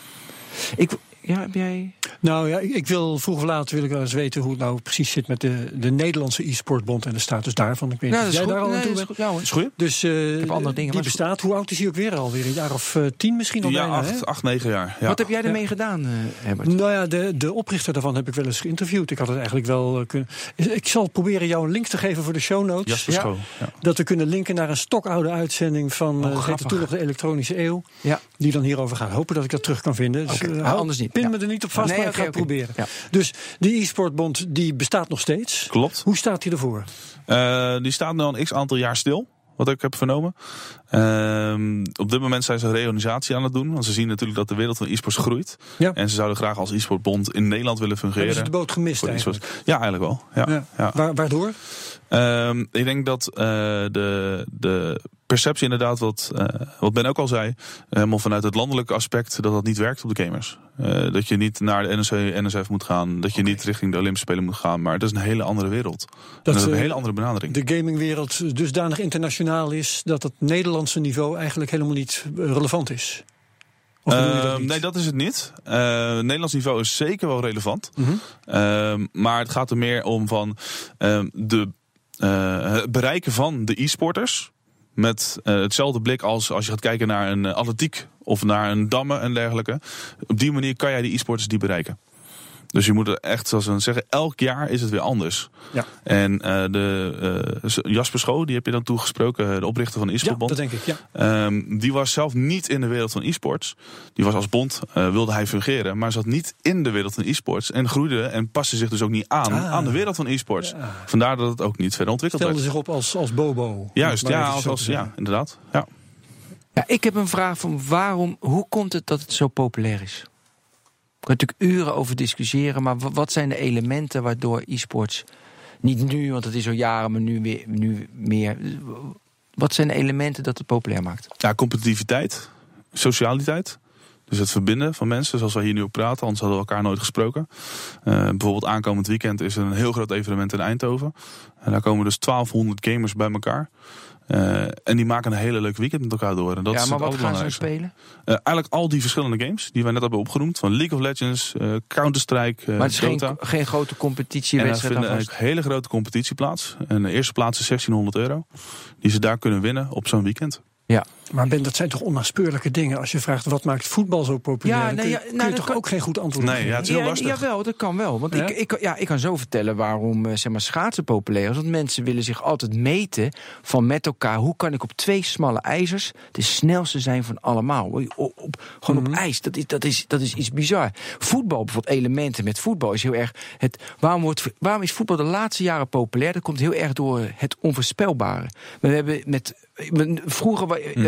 S1: Ik, ja, heb jij...
S2: Nou ja, ik, ik wil vroeg of laat wil ik wel eens weten hoe het nou precies zit met de, de Nederlandse e-sportbond en de status daarvan. Ik weet niet
S1: Nou,
S2: of
S1: dat is
S2: jij
S1: goed.
S2: daar al
S1: Nee,
S2: aan toe
S1: dat is
S2: bent.
S1: goed. Ja, hoor.
S3: Is goed?
S2: Dus eh,
S1: heb andere dingen,
S2: die
S1: maar is goed.
S2: bestaat. Hoe oud is hij ook weer alweer? Een jaar of eh, tien misschien al
S3: Ja,
S2: bijna, hè?
S3: acht, acht, negen jaar. Ja.
S1: Wat heb jij ermee gedaan, eh Herbert?
S2: Nou ja, de, de oprichter daarvan heb ik wel eens geïnterviewd. Ik had het eigenlijk wel eh, kunnen. Ik zal proberen jou een link te geven voor de show notes.
S3: Jasper Schoo, ja.
S2: Dat we kunnen linken naar een stokoude uitzending
S3: Oh,
S2: van eh,
S1: grappig.
S2: heette toen nog de elektronische eeuw.
S1: Ja.
S2: Die dan hierover gaat. Hopen dat ik dat terug kan vinden. Dus,
S1: Oké,
S2: eh,
S1: maar
S3: ah,
S2: hou-
S1: anders niet.
S2: Pin
S1: Ja.
S2: me er niet op vast,
S1: Nee,
S2: maar
S1: oké,
S2: ik ga het
S1: oké.
S2: proberen.
S1: Ja.
S2: Dus die e-sportbond die bestaat nog steeds.
S3: Klopt.
S2: Hoe staat hij ervoor?
S3: Eh, die staat nu al een x aantal jaar stil. Wat ik heb vernomen. Ehm, op dit moment zijn ze een reorganisatie aan het doen. Want ze zien natuurlijk dat de wereld van e-sports groeit.
S2: Ja.
S3: En ze zouden graag als e-sportbond in Nederland willen
S2: Hebben ze de
S3: fungeren.
S2: boot gemist
S3: Voor
S2: eigenlijk?
S3: e-sports. Ja, eigenlijk wel. Ja. Ja.
S2: Waar- waardoor?
S3: Ehm, ik denk dat eh, de, de perceptie inderdaad, wat, eh, wat Ben ook al zei, helemaal vanuit het landelijke aspect, dat dat niet werkt op de gamers. Eh, dat je niet naar de NSC, NSF moet gaan, dat je niet richting de Olympische Spelen moet gaan, maar dat is een hele andere wereld. Nou, Dat, is een
S2: eh,
S3: hele andere benadering.
S2: de gamingwereld dusdanig internationaal is dat het Nederlandse niveau eigenlijk helemaal niet eh, relevant is. Of bedoel je dat
S3: Ehm,
S2: niet?
S3: nee, dat is het niet. Eh, het Nederlands niveau is zeker wel relevant.
S2: Mhm.
S3: Ehm, maar het gaat er meer om van ehm, de, eh, het bereiken van de e-sporters. Met eh, hetzelfde blik als als je gaat kijken naar een eh, atletiek of naar een dammen en dergelijke. Op die manier kan jij de e-sporters die bereiken. Dus je moet er echt, zoals we zeggen, elk jaar is het weer anders.
S2: Ja.
S3: En eh, de, eh, Jasper Schoo, die heb je dan toegesproken, eh, de oprichter van de
S2: Ja,
S3: e-sportbond.
S2: dat denk ik. Ja.
S3: Ehm, die was zelf niet in de wereld van e-sports. Die was als bond, eh, wilde hij fungeren, maar zat niet in de wereld van e-sports. En groeide en paste zich dus ook niet aan
S2: Ah.
S3: aan de wereld van e-sports.
S2: Ja.
S3: Vandaar dat het ook niet verder ontwikkeld
S2: Stelde
S3: werd.
S2: zich op als, als Bobo.
S3: Juist,
S2: Maar
S3: ja,
S2: even
S3: als,
S2: zo
S3: als-
S2: te
S3: ja,
S2: zeggen.
S3: inderdaad. Ja.
S1: Ja, ik heb een vraag van waarom, hoe komt het dat het zo populair is? Ik kan natuurlijk uren over discussiëren, maar wa- wat zijn de elementen waardoor e-sports, niet nu, want het is al jaren, maar nu, weer, nu meer, wat zijn de elementen dat het populair maakt?
S3: ja, competitiviteit, socialiteit. Dus het verbinden van mensen, zoals we hier nu ook praten, anders hadden we elkaar nooit gesproken. Eh, bijvoorbeeld aankomend weekend is er een heel groot evenement in Eindhoven. En daar komen dus 1200 gamers bij elkaar. Eh, en die maken een hele leuk weekend met elkaar door. En dat
S1: ja,
S3: is
S1: maar
S3: het
S1: wat gaan ze dan
S3: allerbelangrijkste.
S1: spelen?
S3: Eh, eigenlijk al die verschillende games die wij net hebben opgenoemd. Van League of Legends, eh, Counter-Strike, eh,
S1: maar het is geen,
S3: Dota.
S1: geen grote
S3: En eh, daar
S1: competitiewedstrijd.
S3: vindt
S1: aan
S3: een
S1: vast.
S3: hele grote competitie plaats. En de eerste plaats is 1600 euro. Die ze daar kunnen winnen op zo'n weekend.
S2: Maar Ben, dat zijn toch onnaspeurlijke dingen. Als je vraagt wat maakt voetbal zo populair,
S1: Ja,
S2: dan
S1: nee,
S2: kun je,
S1: ja,
S2: kun
S1: nou,
S2: je
S1: dat
S2: toch
S1: kan-
S2: ook geen goed antwoord
S3: Nee,
S2: geven.
S3: ja, het is heel
S1: Ja,
S3: lastig.
S1: Jawel, dat kan wel. Want
S2: Ja?
S1: ik, ik, ja, ik kan zo vertellen waarom eh, zeg maar, schaatsen populair is. Want mensen willen zich altijd meten van met elkaar. Hoe kan ik op twee smalle ijzers de snelste zijn van allemaal? Op, op- gewoon
S3: Mhm.
S1: op ijs. Dat is, dat, is, dat is iets bizar. Voetbal, bijvoorbeeld elementen met voetbal, is heel erg... Het, waarom, wordt, waarom is voetbal de laatste jaren populair? Dat komt heel erg door het onvoorspelbare. Maar we hebben met... Vroeger wa- eh,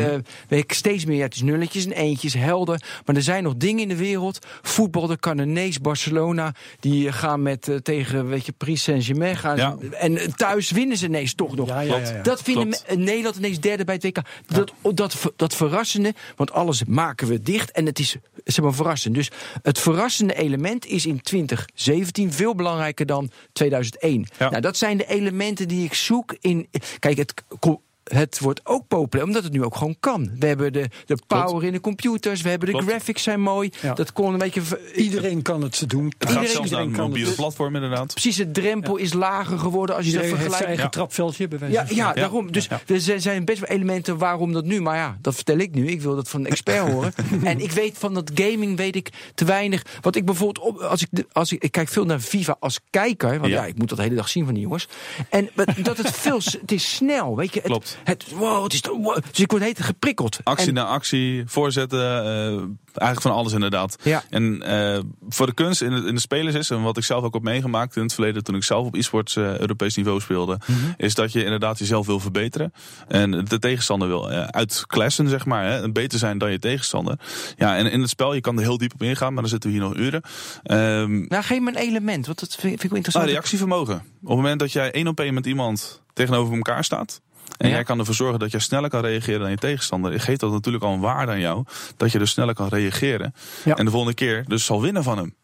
S1: weet ik steeds meer, ja, het is nulletjes en eentjes, helder. Maar er zijn nog dingen in de wereld. Voetbal, de Cananees, Barcelona. Die eh, gaan met, eh, tegen weet je, Paris Saint-Germain. Gaan,
S3: Ja.
S1: En eh, thuis winnen ze ineens toch nog.
S2: Ja, ja, ja, ja.
S1: Dat vinden
S3: Klopt.
S1: me- eh, Nederland ineens derde bij het WK. Dat, dat, ver- dat verrassende, want alles maken we dicht. En het is zeg maar, verrassend. Dus het verrassende element is in 2017 veel belangrijker dan 2001.
S3: Ja.
S1: Nou, dat zijn de elementen die ik zoek in. Kijk, het. ko- Het wordt ook populair, omdat het nu ook gewoon kan. We hebben de, de power in de computers, we hebben de
S3: Klopt.
S1: graphics zijn mooi.
S2: Ja.
S1: Dat kon een beetje. ver-
S2: Iedereen kan het doen.
S3: Het
S2: iedereen,
S3: gaat zelfs naar
S2: iedereen
S3: een
S2: kan
S3: mobiele
S2: het.
S3: platform inderdaad.
S1: Precies, de drempel is lager geworden als je dat
S2: Iedereen heeft zijn
S1: vergelijkt.
S2: eigen
S3: Ja.
S2: trapveldje, bij wijze
S1: Ja,
S2: van
S1: ja,
S3: Ja.
S1: daarom. Dus
S3: Ja.
S1: er zijn- zijn best wel elementen waarom dat nu. Maar ja, dat vertel ik nu. Ik wil dat van een expert horen. En ik weet van dat gaming weet ik te weinig. Wat ik bijvoorbeeld op, als ik, de- als ik, ik kijk veel naar FIFA als kijker. Want ja.
S3: Ja.
S1: ik moet dat de hele dag zien van die jongens. En wat- dat het veel, s- het is snel, weet je. Het,
S3: Klopt.
S1: Het, wow, het is, te- wow. Dus ik word heet geprikkeld.
S3: Actie nou-
S1: En-
S3: na actie, voorzetten, eh, eigenlijk van alles inderdaad.
S1: Ja.
S3: En eh, voor de kunst in de, in de spelers is, en wat ik zelf ook heb meegemaakt in het verleden toen ik zelf op e-sports eh, Europees niveau speelde,
S2: Mhm.
S3: is dat je inderdaad jezelf wil verbeteren. En de tegenstander wil eh, uitklassen, zeg maar. Hè, en beter zijn dan je tegenstander. Ja, en in het spel, je kan er heel diep op ingaan, maar dan zitten we hier nog uren. Ehm
S1: nou, geef me een element, want dat vind, vind ik wel
S3: nou,
S1: interessant.
S3: reactievermogen. Op het moment dat jij één op één met iemand tegenover elkaar staat. En
S1: Ja.
S3: jij kan ervoor zorgen dat jij sneller kan reageren dan je tegenstander. Geeft dat natuurlijk al een waarde aan jou. Dat je dus sneller kan reageren.
S1: Ja.
S3: En de volgende keer dus zal winnen van hem.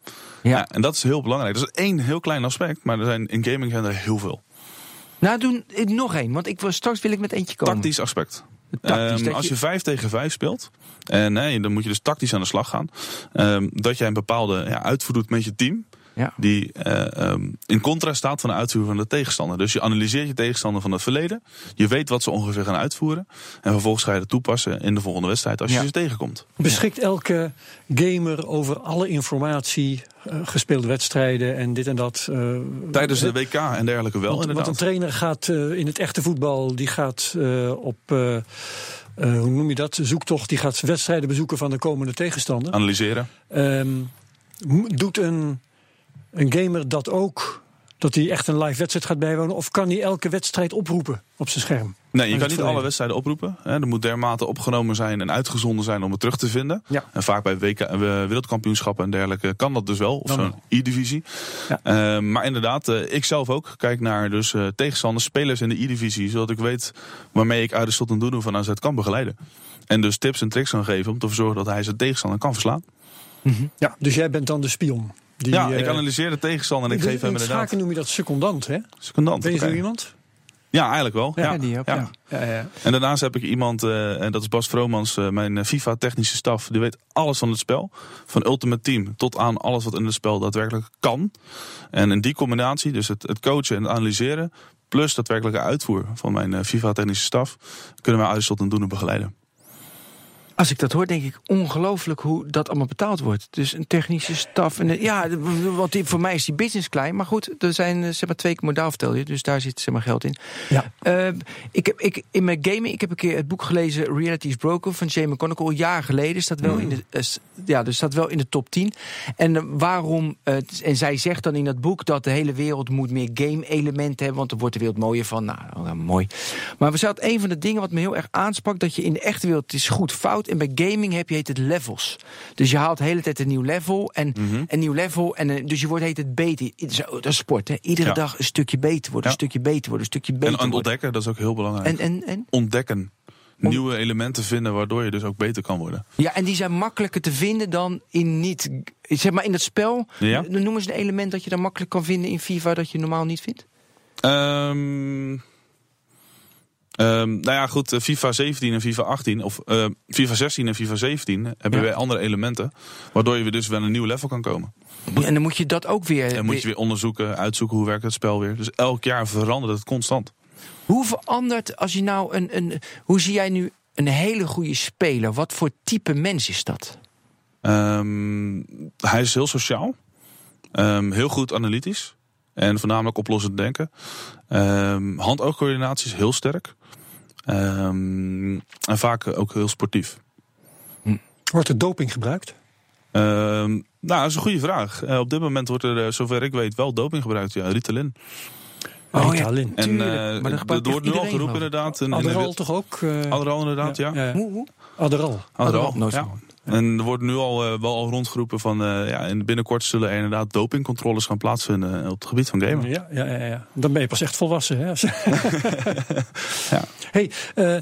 S1: ja.
S3: Ja, en dat is heel belangrijk. Dat is één heel klein aspect. Maar er zijn, in gaming zijn er heel veel.
S1: Nou, doe ik nog één, want ik wil, straks wil ik met eentje komen.
S3: Tactisch aspect.
S1: Tactisch,
S3: Ehm,
S1: dat
S3: als
S1: je-
S3: je vijf tegen vijf speelt. En nee, dan moet je dus tactisch aan de slag gaan. ehm, dat jij een bepaalde ja, uitvoer doet met je team.
S1: Ja.
S3: die eh, ehm, in contrast staat van de uitvoer van de tegenstander. Dus je analyseert je tegenstander van het verleden. Je weet wat ze ongeveer gaan uitvoeren. En vervolgens ga je dat toepassen in de volgende wedstrijd als
S1: Ja.
S3: je ze tegenkomt.
S2: Beschikt elke gamer over alle informatie, eh, gespeelde wedstrijden en dit en dat? eh,
S3: Tijdens de WK en dergelijke wel
S2: want, want
S3: inderdaad.
S2: een trainer gaat eh, in het echte voetbal, die gaat eh, op, eh, eh, hoe noem je dat, zoektocht, die gaat wedstrijden bezoeken van de komende tegenstander.
S3: Analyseren.
S2: Ehm, m- doet een, een gamer dat ook? dat hij echt een live wedstrijd gaat bijwonen? Of kan hij elke wedstrijd oproepen op zijn scherm?
S3: Nee,
S2: het
S3: je kan niet
S2: verleden.
S3: alle wedstrijden oproepen. Hè. Er moet dermate opgenomen zijn en uitgezonden zijn om het terug te vinden.
S2: Ja.
S3: En vaak bij WK, eh, wereldkampioenschappen en dergelijke kan dat dus wel. Of
S2: Dan
S3: zo'n E-divisie.
S2: Ja.
S3: Eh, maar inderdaad, eh, ik zelf ook kijk naar dus, eh, tegenstanders, spelers in de E-divisie. Zodat ik weet waarmee ik Aris Sottendoenou van AZ kan begeleiden. En dus tips en tricks kan geven om te zorgen dat hij zijn tegenstander kan verslaan.
S2: Ja, dus jij bent dan de spion. Die,
S3: ja,
S2: eh,
S3: ik analyseer de tegenstander en ik
S2: in-
S3: geef hem
S2: in het
S3: inderdaad...
S2: schaken noem je dat secondant, hè?
S3: Secondant.
S2: Ben je zo
S3: Oké.
S2: iemand?
S3: Ja, eigenlijk wel. Ja,
S1: Ja, die ook, ja.
S2: Ja, ja.
S3: En daarnaast heb ik iemand, eh, en dat is Bas Vromans, eh, mijn eh, FIFA-technische staf. Die weet alles van het spel. Van Ultimate Team tot aan alles wat in het spel daadwerkelijk kan. En in die combinatie, dus het, het coachen en het analyseren. plus daadwerkelijke uitvoer van mijn eh, FIFA-technische staf. kunnen wij Uitstot en Doenen begeleiden.
S1: Als ik dat hoor, denk ik ongelooflijk hoe dat allemaal betaald wordt. Dus een technische staf. En een- ja, want die- voor mij is die business klein. Maar goed, er zijn eh, zeg maar, twee keer modaal vertel je. Dus daar zit zeg maar, geld in.
S2: Ja.
S1: Eh, ik heb, ik, in mijn gaming, ik heb een keer het boek gelezen Reality is Broken van Jamie McConnell. Al jaren geleden staat
S3: Mm.
S1: wel, in de, eh, s- ja, dus staat wel in de top 10. En eh, waarom, eh, t- en zij zegt dan in dat boek dat de hele wereld moet meer game elementen hebben. Want dan wordt de wereld mooier van. Nou, nou, mooi. Maar we zaten een van de dingen wat me heel erg aansprak. Dat je in de echte wereld het is goed fout. En bij gaming heb je heet het levels. Dus je haalt de hele tijd een nieuw level. En
S3: Mhm.
S1: een nieuw level. En, een- dus je wordt heet het beter. Het is- Dat is sport. Hè? Iedere
S3: Ja.
S1: dag een stukje beter worden.
S3: Ja.
S1: Een stukje beter worden. Een stukje beter
S3: En, en
S1: worden.
S3: ontdekken, dat is ook heel
S1: En,
S3: belangrijk.
S1: en, en?
S3: ontdekken. Nieuwe elementen vinden waardoor je dus ook beter kan worden.
S1: Ja, en die zijn makkelijker te vinden dan in niet. Zeg maar in dat spel.
S3: Ja.
S1: Dan noemen ze een element dat je dan makkelijk kan vinden in FIFA dat je normaal niet vindt.
S3: Ehm ehm, nou ja, goed. eh, FIFA 17 en FIFA 18, of eh, FIFA 16 en FIFA 17 hebben
S1: Ja.
S3: weer andere elementen. Waardoor je weer dus wel een nieuw level kan komen.
S1: En dan moet je dat ook weer.
S3: En moet je weer onderzoeken, uitzoeken hoe werkt het spel weer. Dus elk jaar verandert het constant.
S1: Hoe verandert als je nou een, een. Hoe zie jij nu een hele goede speler? Wat voor type mens is dat?
S3: Oh, Ehm, hij is heel sociaal. Ehm, heel goed analytisch. En voornamelijk oplossend denken. Ehm Hand-oogcoördinatie is heel sterk. Ehm, en vaak ook heel sportief.
S2: Wordt er doping gebruikt?
S3: Ehm, nou, dat is een goede vraag. Eh, op dit moment wordt er, eh, zover ik weet, wel doping gebruikt. Ja, Ritalin.
S1: Oh, ja.
S2: Ritalin.
S3: En
S1: Tuurlijk,
S3: eh,
S1: maar dat
S3: er
S1: gebruikt echt
S3: wordt nu al
S1: iedereen,
S3: geroepen
S1: geloof ik.
S3: inderdaad. In, in de
S2: Adderall
S3: wit-
S2: toch ook? eh,
S3: Adderall inderdaad, ja.
S2: ja.
S1: Hoe, hoe?
S2: Adderall.
S3: Adderall,
S1: Adderall, nooit
S3: ja. En er wordt nu al eh, wel al rondgeroepen van... eh, ja, en binnenkort zullen er inderdaad dopingcontroles gaan plaatsvinden eh, op het gebied van gamen.
S2: Ja, ja, ja, ja. Dan ben je pas echt volwassen. Hè?
S3: Ja.
S2: Hey, eh,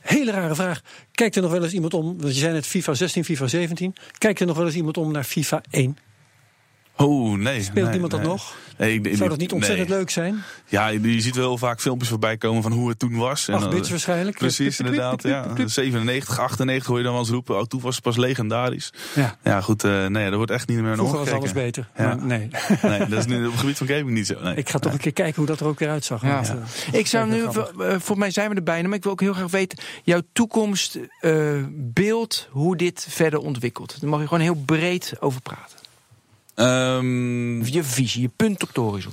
S2: hele rare vraag. Kijkt er nog wel eens iemand om? Want je zei net FIFA 16, FIFA 17. Kijkt er nog wel eens iemand om naar FIFA 1?
S3: Oh, nee.
S2: Speelt
S3: nee,
S2: iemand dat
S3: nee.
S2: nog?
S3: Nee, ik- ik-
S2: Zou dat niet
S3: nee.
S2: ontzettend leuk zijn?
S3: Ja, je- je ziet wel heel vaak filmpjes voorbij komen van hoe het toen was. En
S2: 8
S3: dan- eh,
S2: bits waarschijnlijk.
S3: Precies, inderdaad. Ja. 97, 98 hoor je dan wel eens roepen. Oh, toen was het pas legendarisch.
S2: Ja.
S3: Ja, goed. eh, nee, dat wordt echt niet meer naar
S2: Vroeger was alles
S3: omgekeken.
S2: beter.
S3: Ja.
S2: Maar nee.
S3: Nee, dat is nu op het gebied van gaming niet zo. Nee.
S2: Ik ga toch een keer kijken hoe dat er ook weer uitzag.
S1: Ja.
S2: want, eh,
S1: Ik zou
S2: lijkt
S1: nu,
S2: me grappig.
S1: eh, volgens mij zijn we er bijna, maar ik wil ook heel graag weten jouw toekomstbeeld, hoe dit verder ontwikkelt. Daar mag je gewoon heel breed over praten.
S3: Ehm,
S1: Je visie, je punt op de horizon.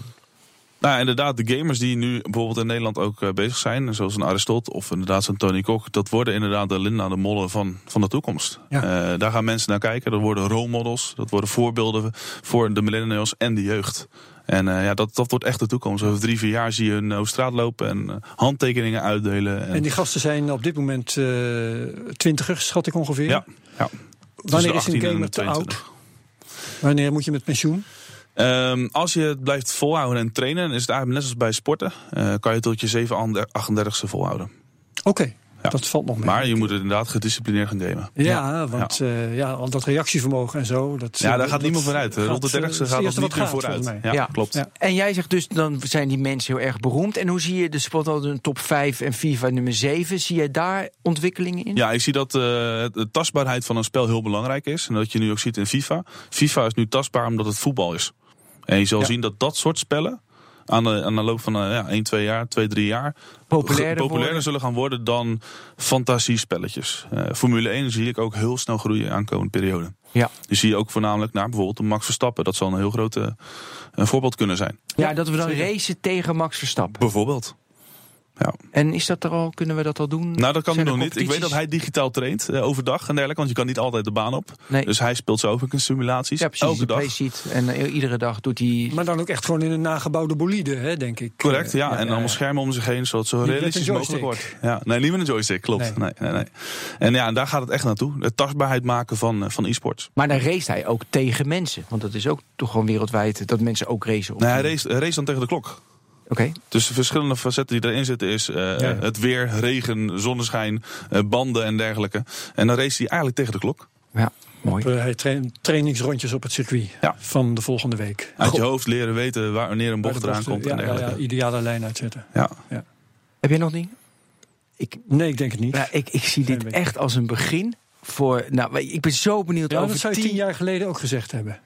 S3: nou, inderdaad, de gamers die nu bijvoorbeeld in Nederland ook eh, bezig zijn, zoals een Aristot of inderdaad zo'n Tony Kok, dat worden inderdaad de Linda de Mollen van, van de toekomst.
S2: Ja.
S3: Eh, daar gaan mensen naar kijken. Dat worden rolmodels, dat worden voorbeelden voor de millennials en de jeugd. En eh, ja, dat, dat wordt echt de toekomst. Over drie, vier jaar zie je hun over straat lopen en eh, handtekeningen uitdelen. En,
S2: En die gasten zijn op dit moment eh twintigers, schat ik ongeveer.
S3: ja, ja.
S2: Wanneer is
S3: Tussen de
S2: een
S3: 18 en
S2: gamer te
S3: 22.
S2: oud? Wanneer moet je met pensioen?
S3: Ehm, als je het blijft volhouden en trainen, dan is het eigenlijk net als bij sporten. eh, kan je tot je 7 38ste volhouden.
S2: Oké,
S3: Ja.
S2: dat valt nog mee.
S3: Maar je moet het inderdaad gedisciplineerd gaan gamen.
S2: Ja, want eh, ja, al dat reactievermogen en zo. Dat,
S3: Ja, daar
S2: dat-
S3: gaat niemand
S2: dat
S3: vooruit. hè. Rond de
S2: gaat, eh,
S3: 30ste
S2: is
S3: gaat
S2: het
S3: dat
S2: eerste
S3: niet
S2: wat
S3: meer
S2: gaat, volgens
S3: vooruit.
S2: mij.
S3: Ja,
S1: Ja.
S3: klopt.
S2: Ja.
S1: En jij zegt dus, dan zijn die mensen heel erg beroemd. En hoe zie je de spot een top 5 en FIFA nummer 7? Zie jij daar ontwikkelingen in?
S3: Ja, ik zie dat eh, de tastbaarheid van een spel heel belangrijk is. En dat je nu ook ziet in FIFA. FIFA is nu tastbaar omdat het voetbal is. En je zal
S2: Ja.
S3: zien dat dat soort spellen aan de, aan de loop van eh, ja, 1, 2 jaar, 2, 3 jaar...
S1: Populairder
S3: ge- populairder
S1: worden.
S3: zullen gaan worden dan fantasiespelletjes. Eh, Formule 1 zie ik ook heel snel groeien aankomende periode.
S1: Ja.
S3: Die zie je ook voornamelijk naar bijvoorbeeld een Max Verstappen. Dat zal een heel groot eh, een voorbeeld kunnen zijn.
S1: Ja, dat we dan racen tegen Max Verstappen.
S3: Bijvoorbeeld. Ja.
S1: En is dat er al, kunnen we dat al doen?
S3: Nou, dat kan
S1: Zijn
S3: hij
S1: er
S3: nog niet. Ik weet dat hij
S1: competities?
S3: digitaal traint eh, overdag en dergelijke, want je kan niet altijd de baan op.
S1: Nee.
S3: Dus hij speelt zo ook een simulaties.
S1: ja, precies,
S3: elke
S1: die
S3: dag.
S1: playsheet. En eh, iedere dag doet hij...
S2: Maar dan ook echt gewoon in een nagebouwde bolide, hè, denk ik.
S3: Correct, ja.
S2: Eh,
S3: en allemaal schermen om zich heen, zodat het zo
S2: Niet met
S3: realistisch
S2: een
S3: mogelijk wordt.
S2: joystick.
S3: Ja, nee, niet met een joystick, klopt.
S2: Nee.
S3: Nee. Nee, nee, En ja, en daar gaat het echt naartoe. De tastbaarheid maken van, eh, van e-sports.
S1: Maar dan race hij ook tegen mensen. Want dat is ook toch gewoon wereldwijd dat mensen ook racen. op-
S3: Nee, hij race, hij race dan tegen de klok.
S1: Oké.
S3: Dus de verschillende facetten die erin zitten is eh, het weer, regen, zonneschijn, eh, banden en dergelijke. En dan race hij eigenlijk tegen de klok.
S1: Ja, mooi.
S2: eh, hij traint trainingsrondjes op het circuit
S3: Ja.
S2: van de volgende week.
S3: Uit je hoofd leren weten waar, wanneer een
S2: Waar
S3: bocht
S2: de
S3: eraan
S2: bochten-
S3: komt en
S2: ja, ja, ja,
S3: dergelijke.
S2: ideale lijn uitzetten.
S3: Ja,
S1: Heb jij nog niet?
S2: Nee, ik denk het niet.
S1: Ja, ik, ik zie
S2: Klein
S1: dit
S2: beetje.
S1: echt als een begin. Voor, nou, maar ik ben zo benieuwd
S2: Ja,
S1: over
S2: dat zou je
S1: tien-
S2: tien jaar geleden ook gezegd hebben.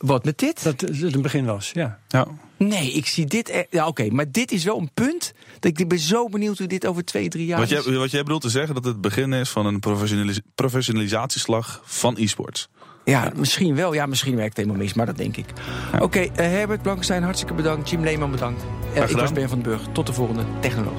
S1: Wat met dit?
S2: Dat het een begin was, ja.
S3: ja.
S1: Nee, ik zie dit. e- Ja, oké, maar dit is wel een punt. Dat ik, ik ben zo benieuwd hoe dit over twee, drie jaar.
S3: Wat,
S2: dus-
S1: is.
S3: jij, wat jij bedoelt te zeggen dat het het begin is van een professionalis- professionalisatieslag van e-sports.
S1: Ja, misschien wel. Ja, misschien werkt het helemaal mis, maar dat denk ik. Oké, eh, Herbert Blankenstein, hartstikke bedankt. Jim Leeman, bedankt. Eh, ik
S3: gedaan.
S1: was Ben van den Burg. Tot de volgende Technoloog.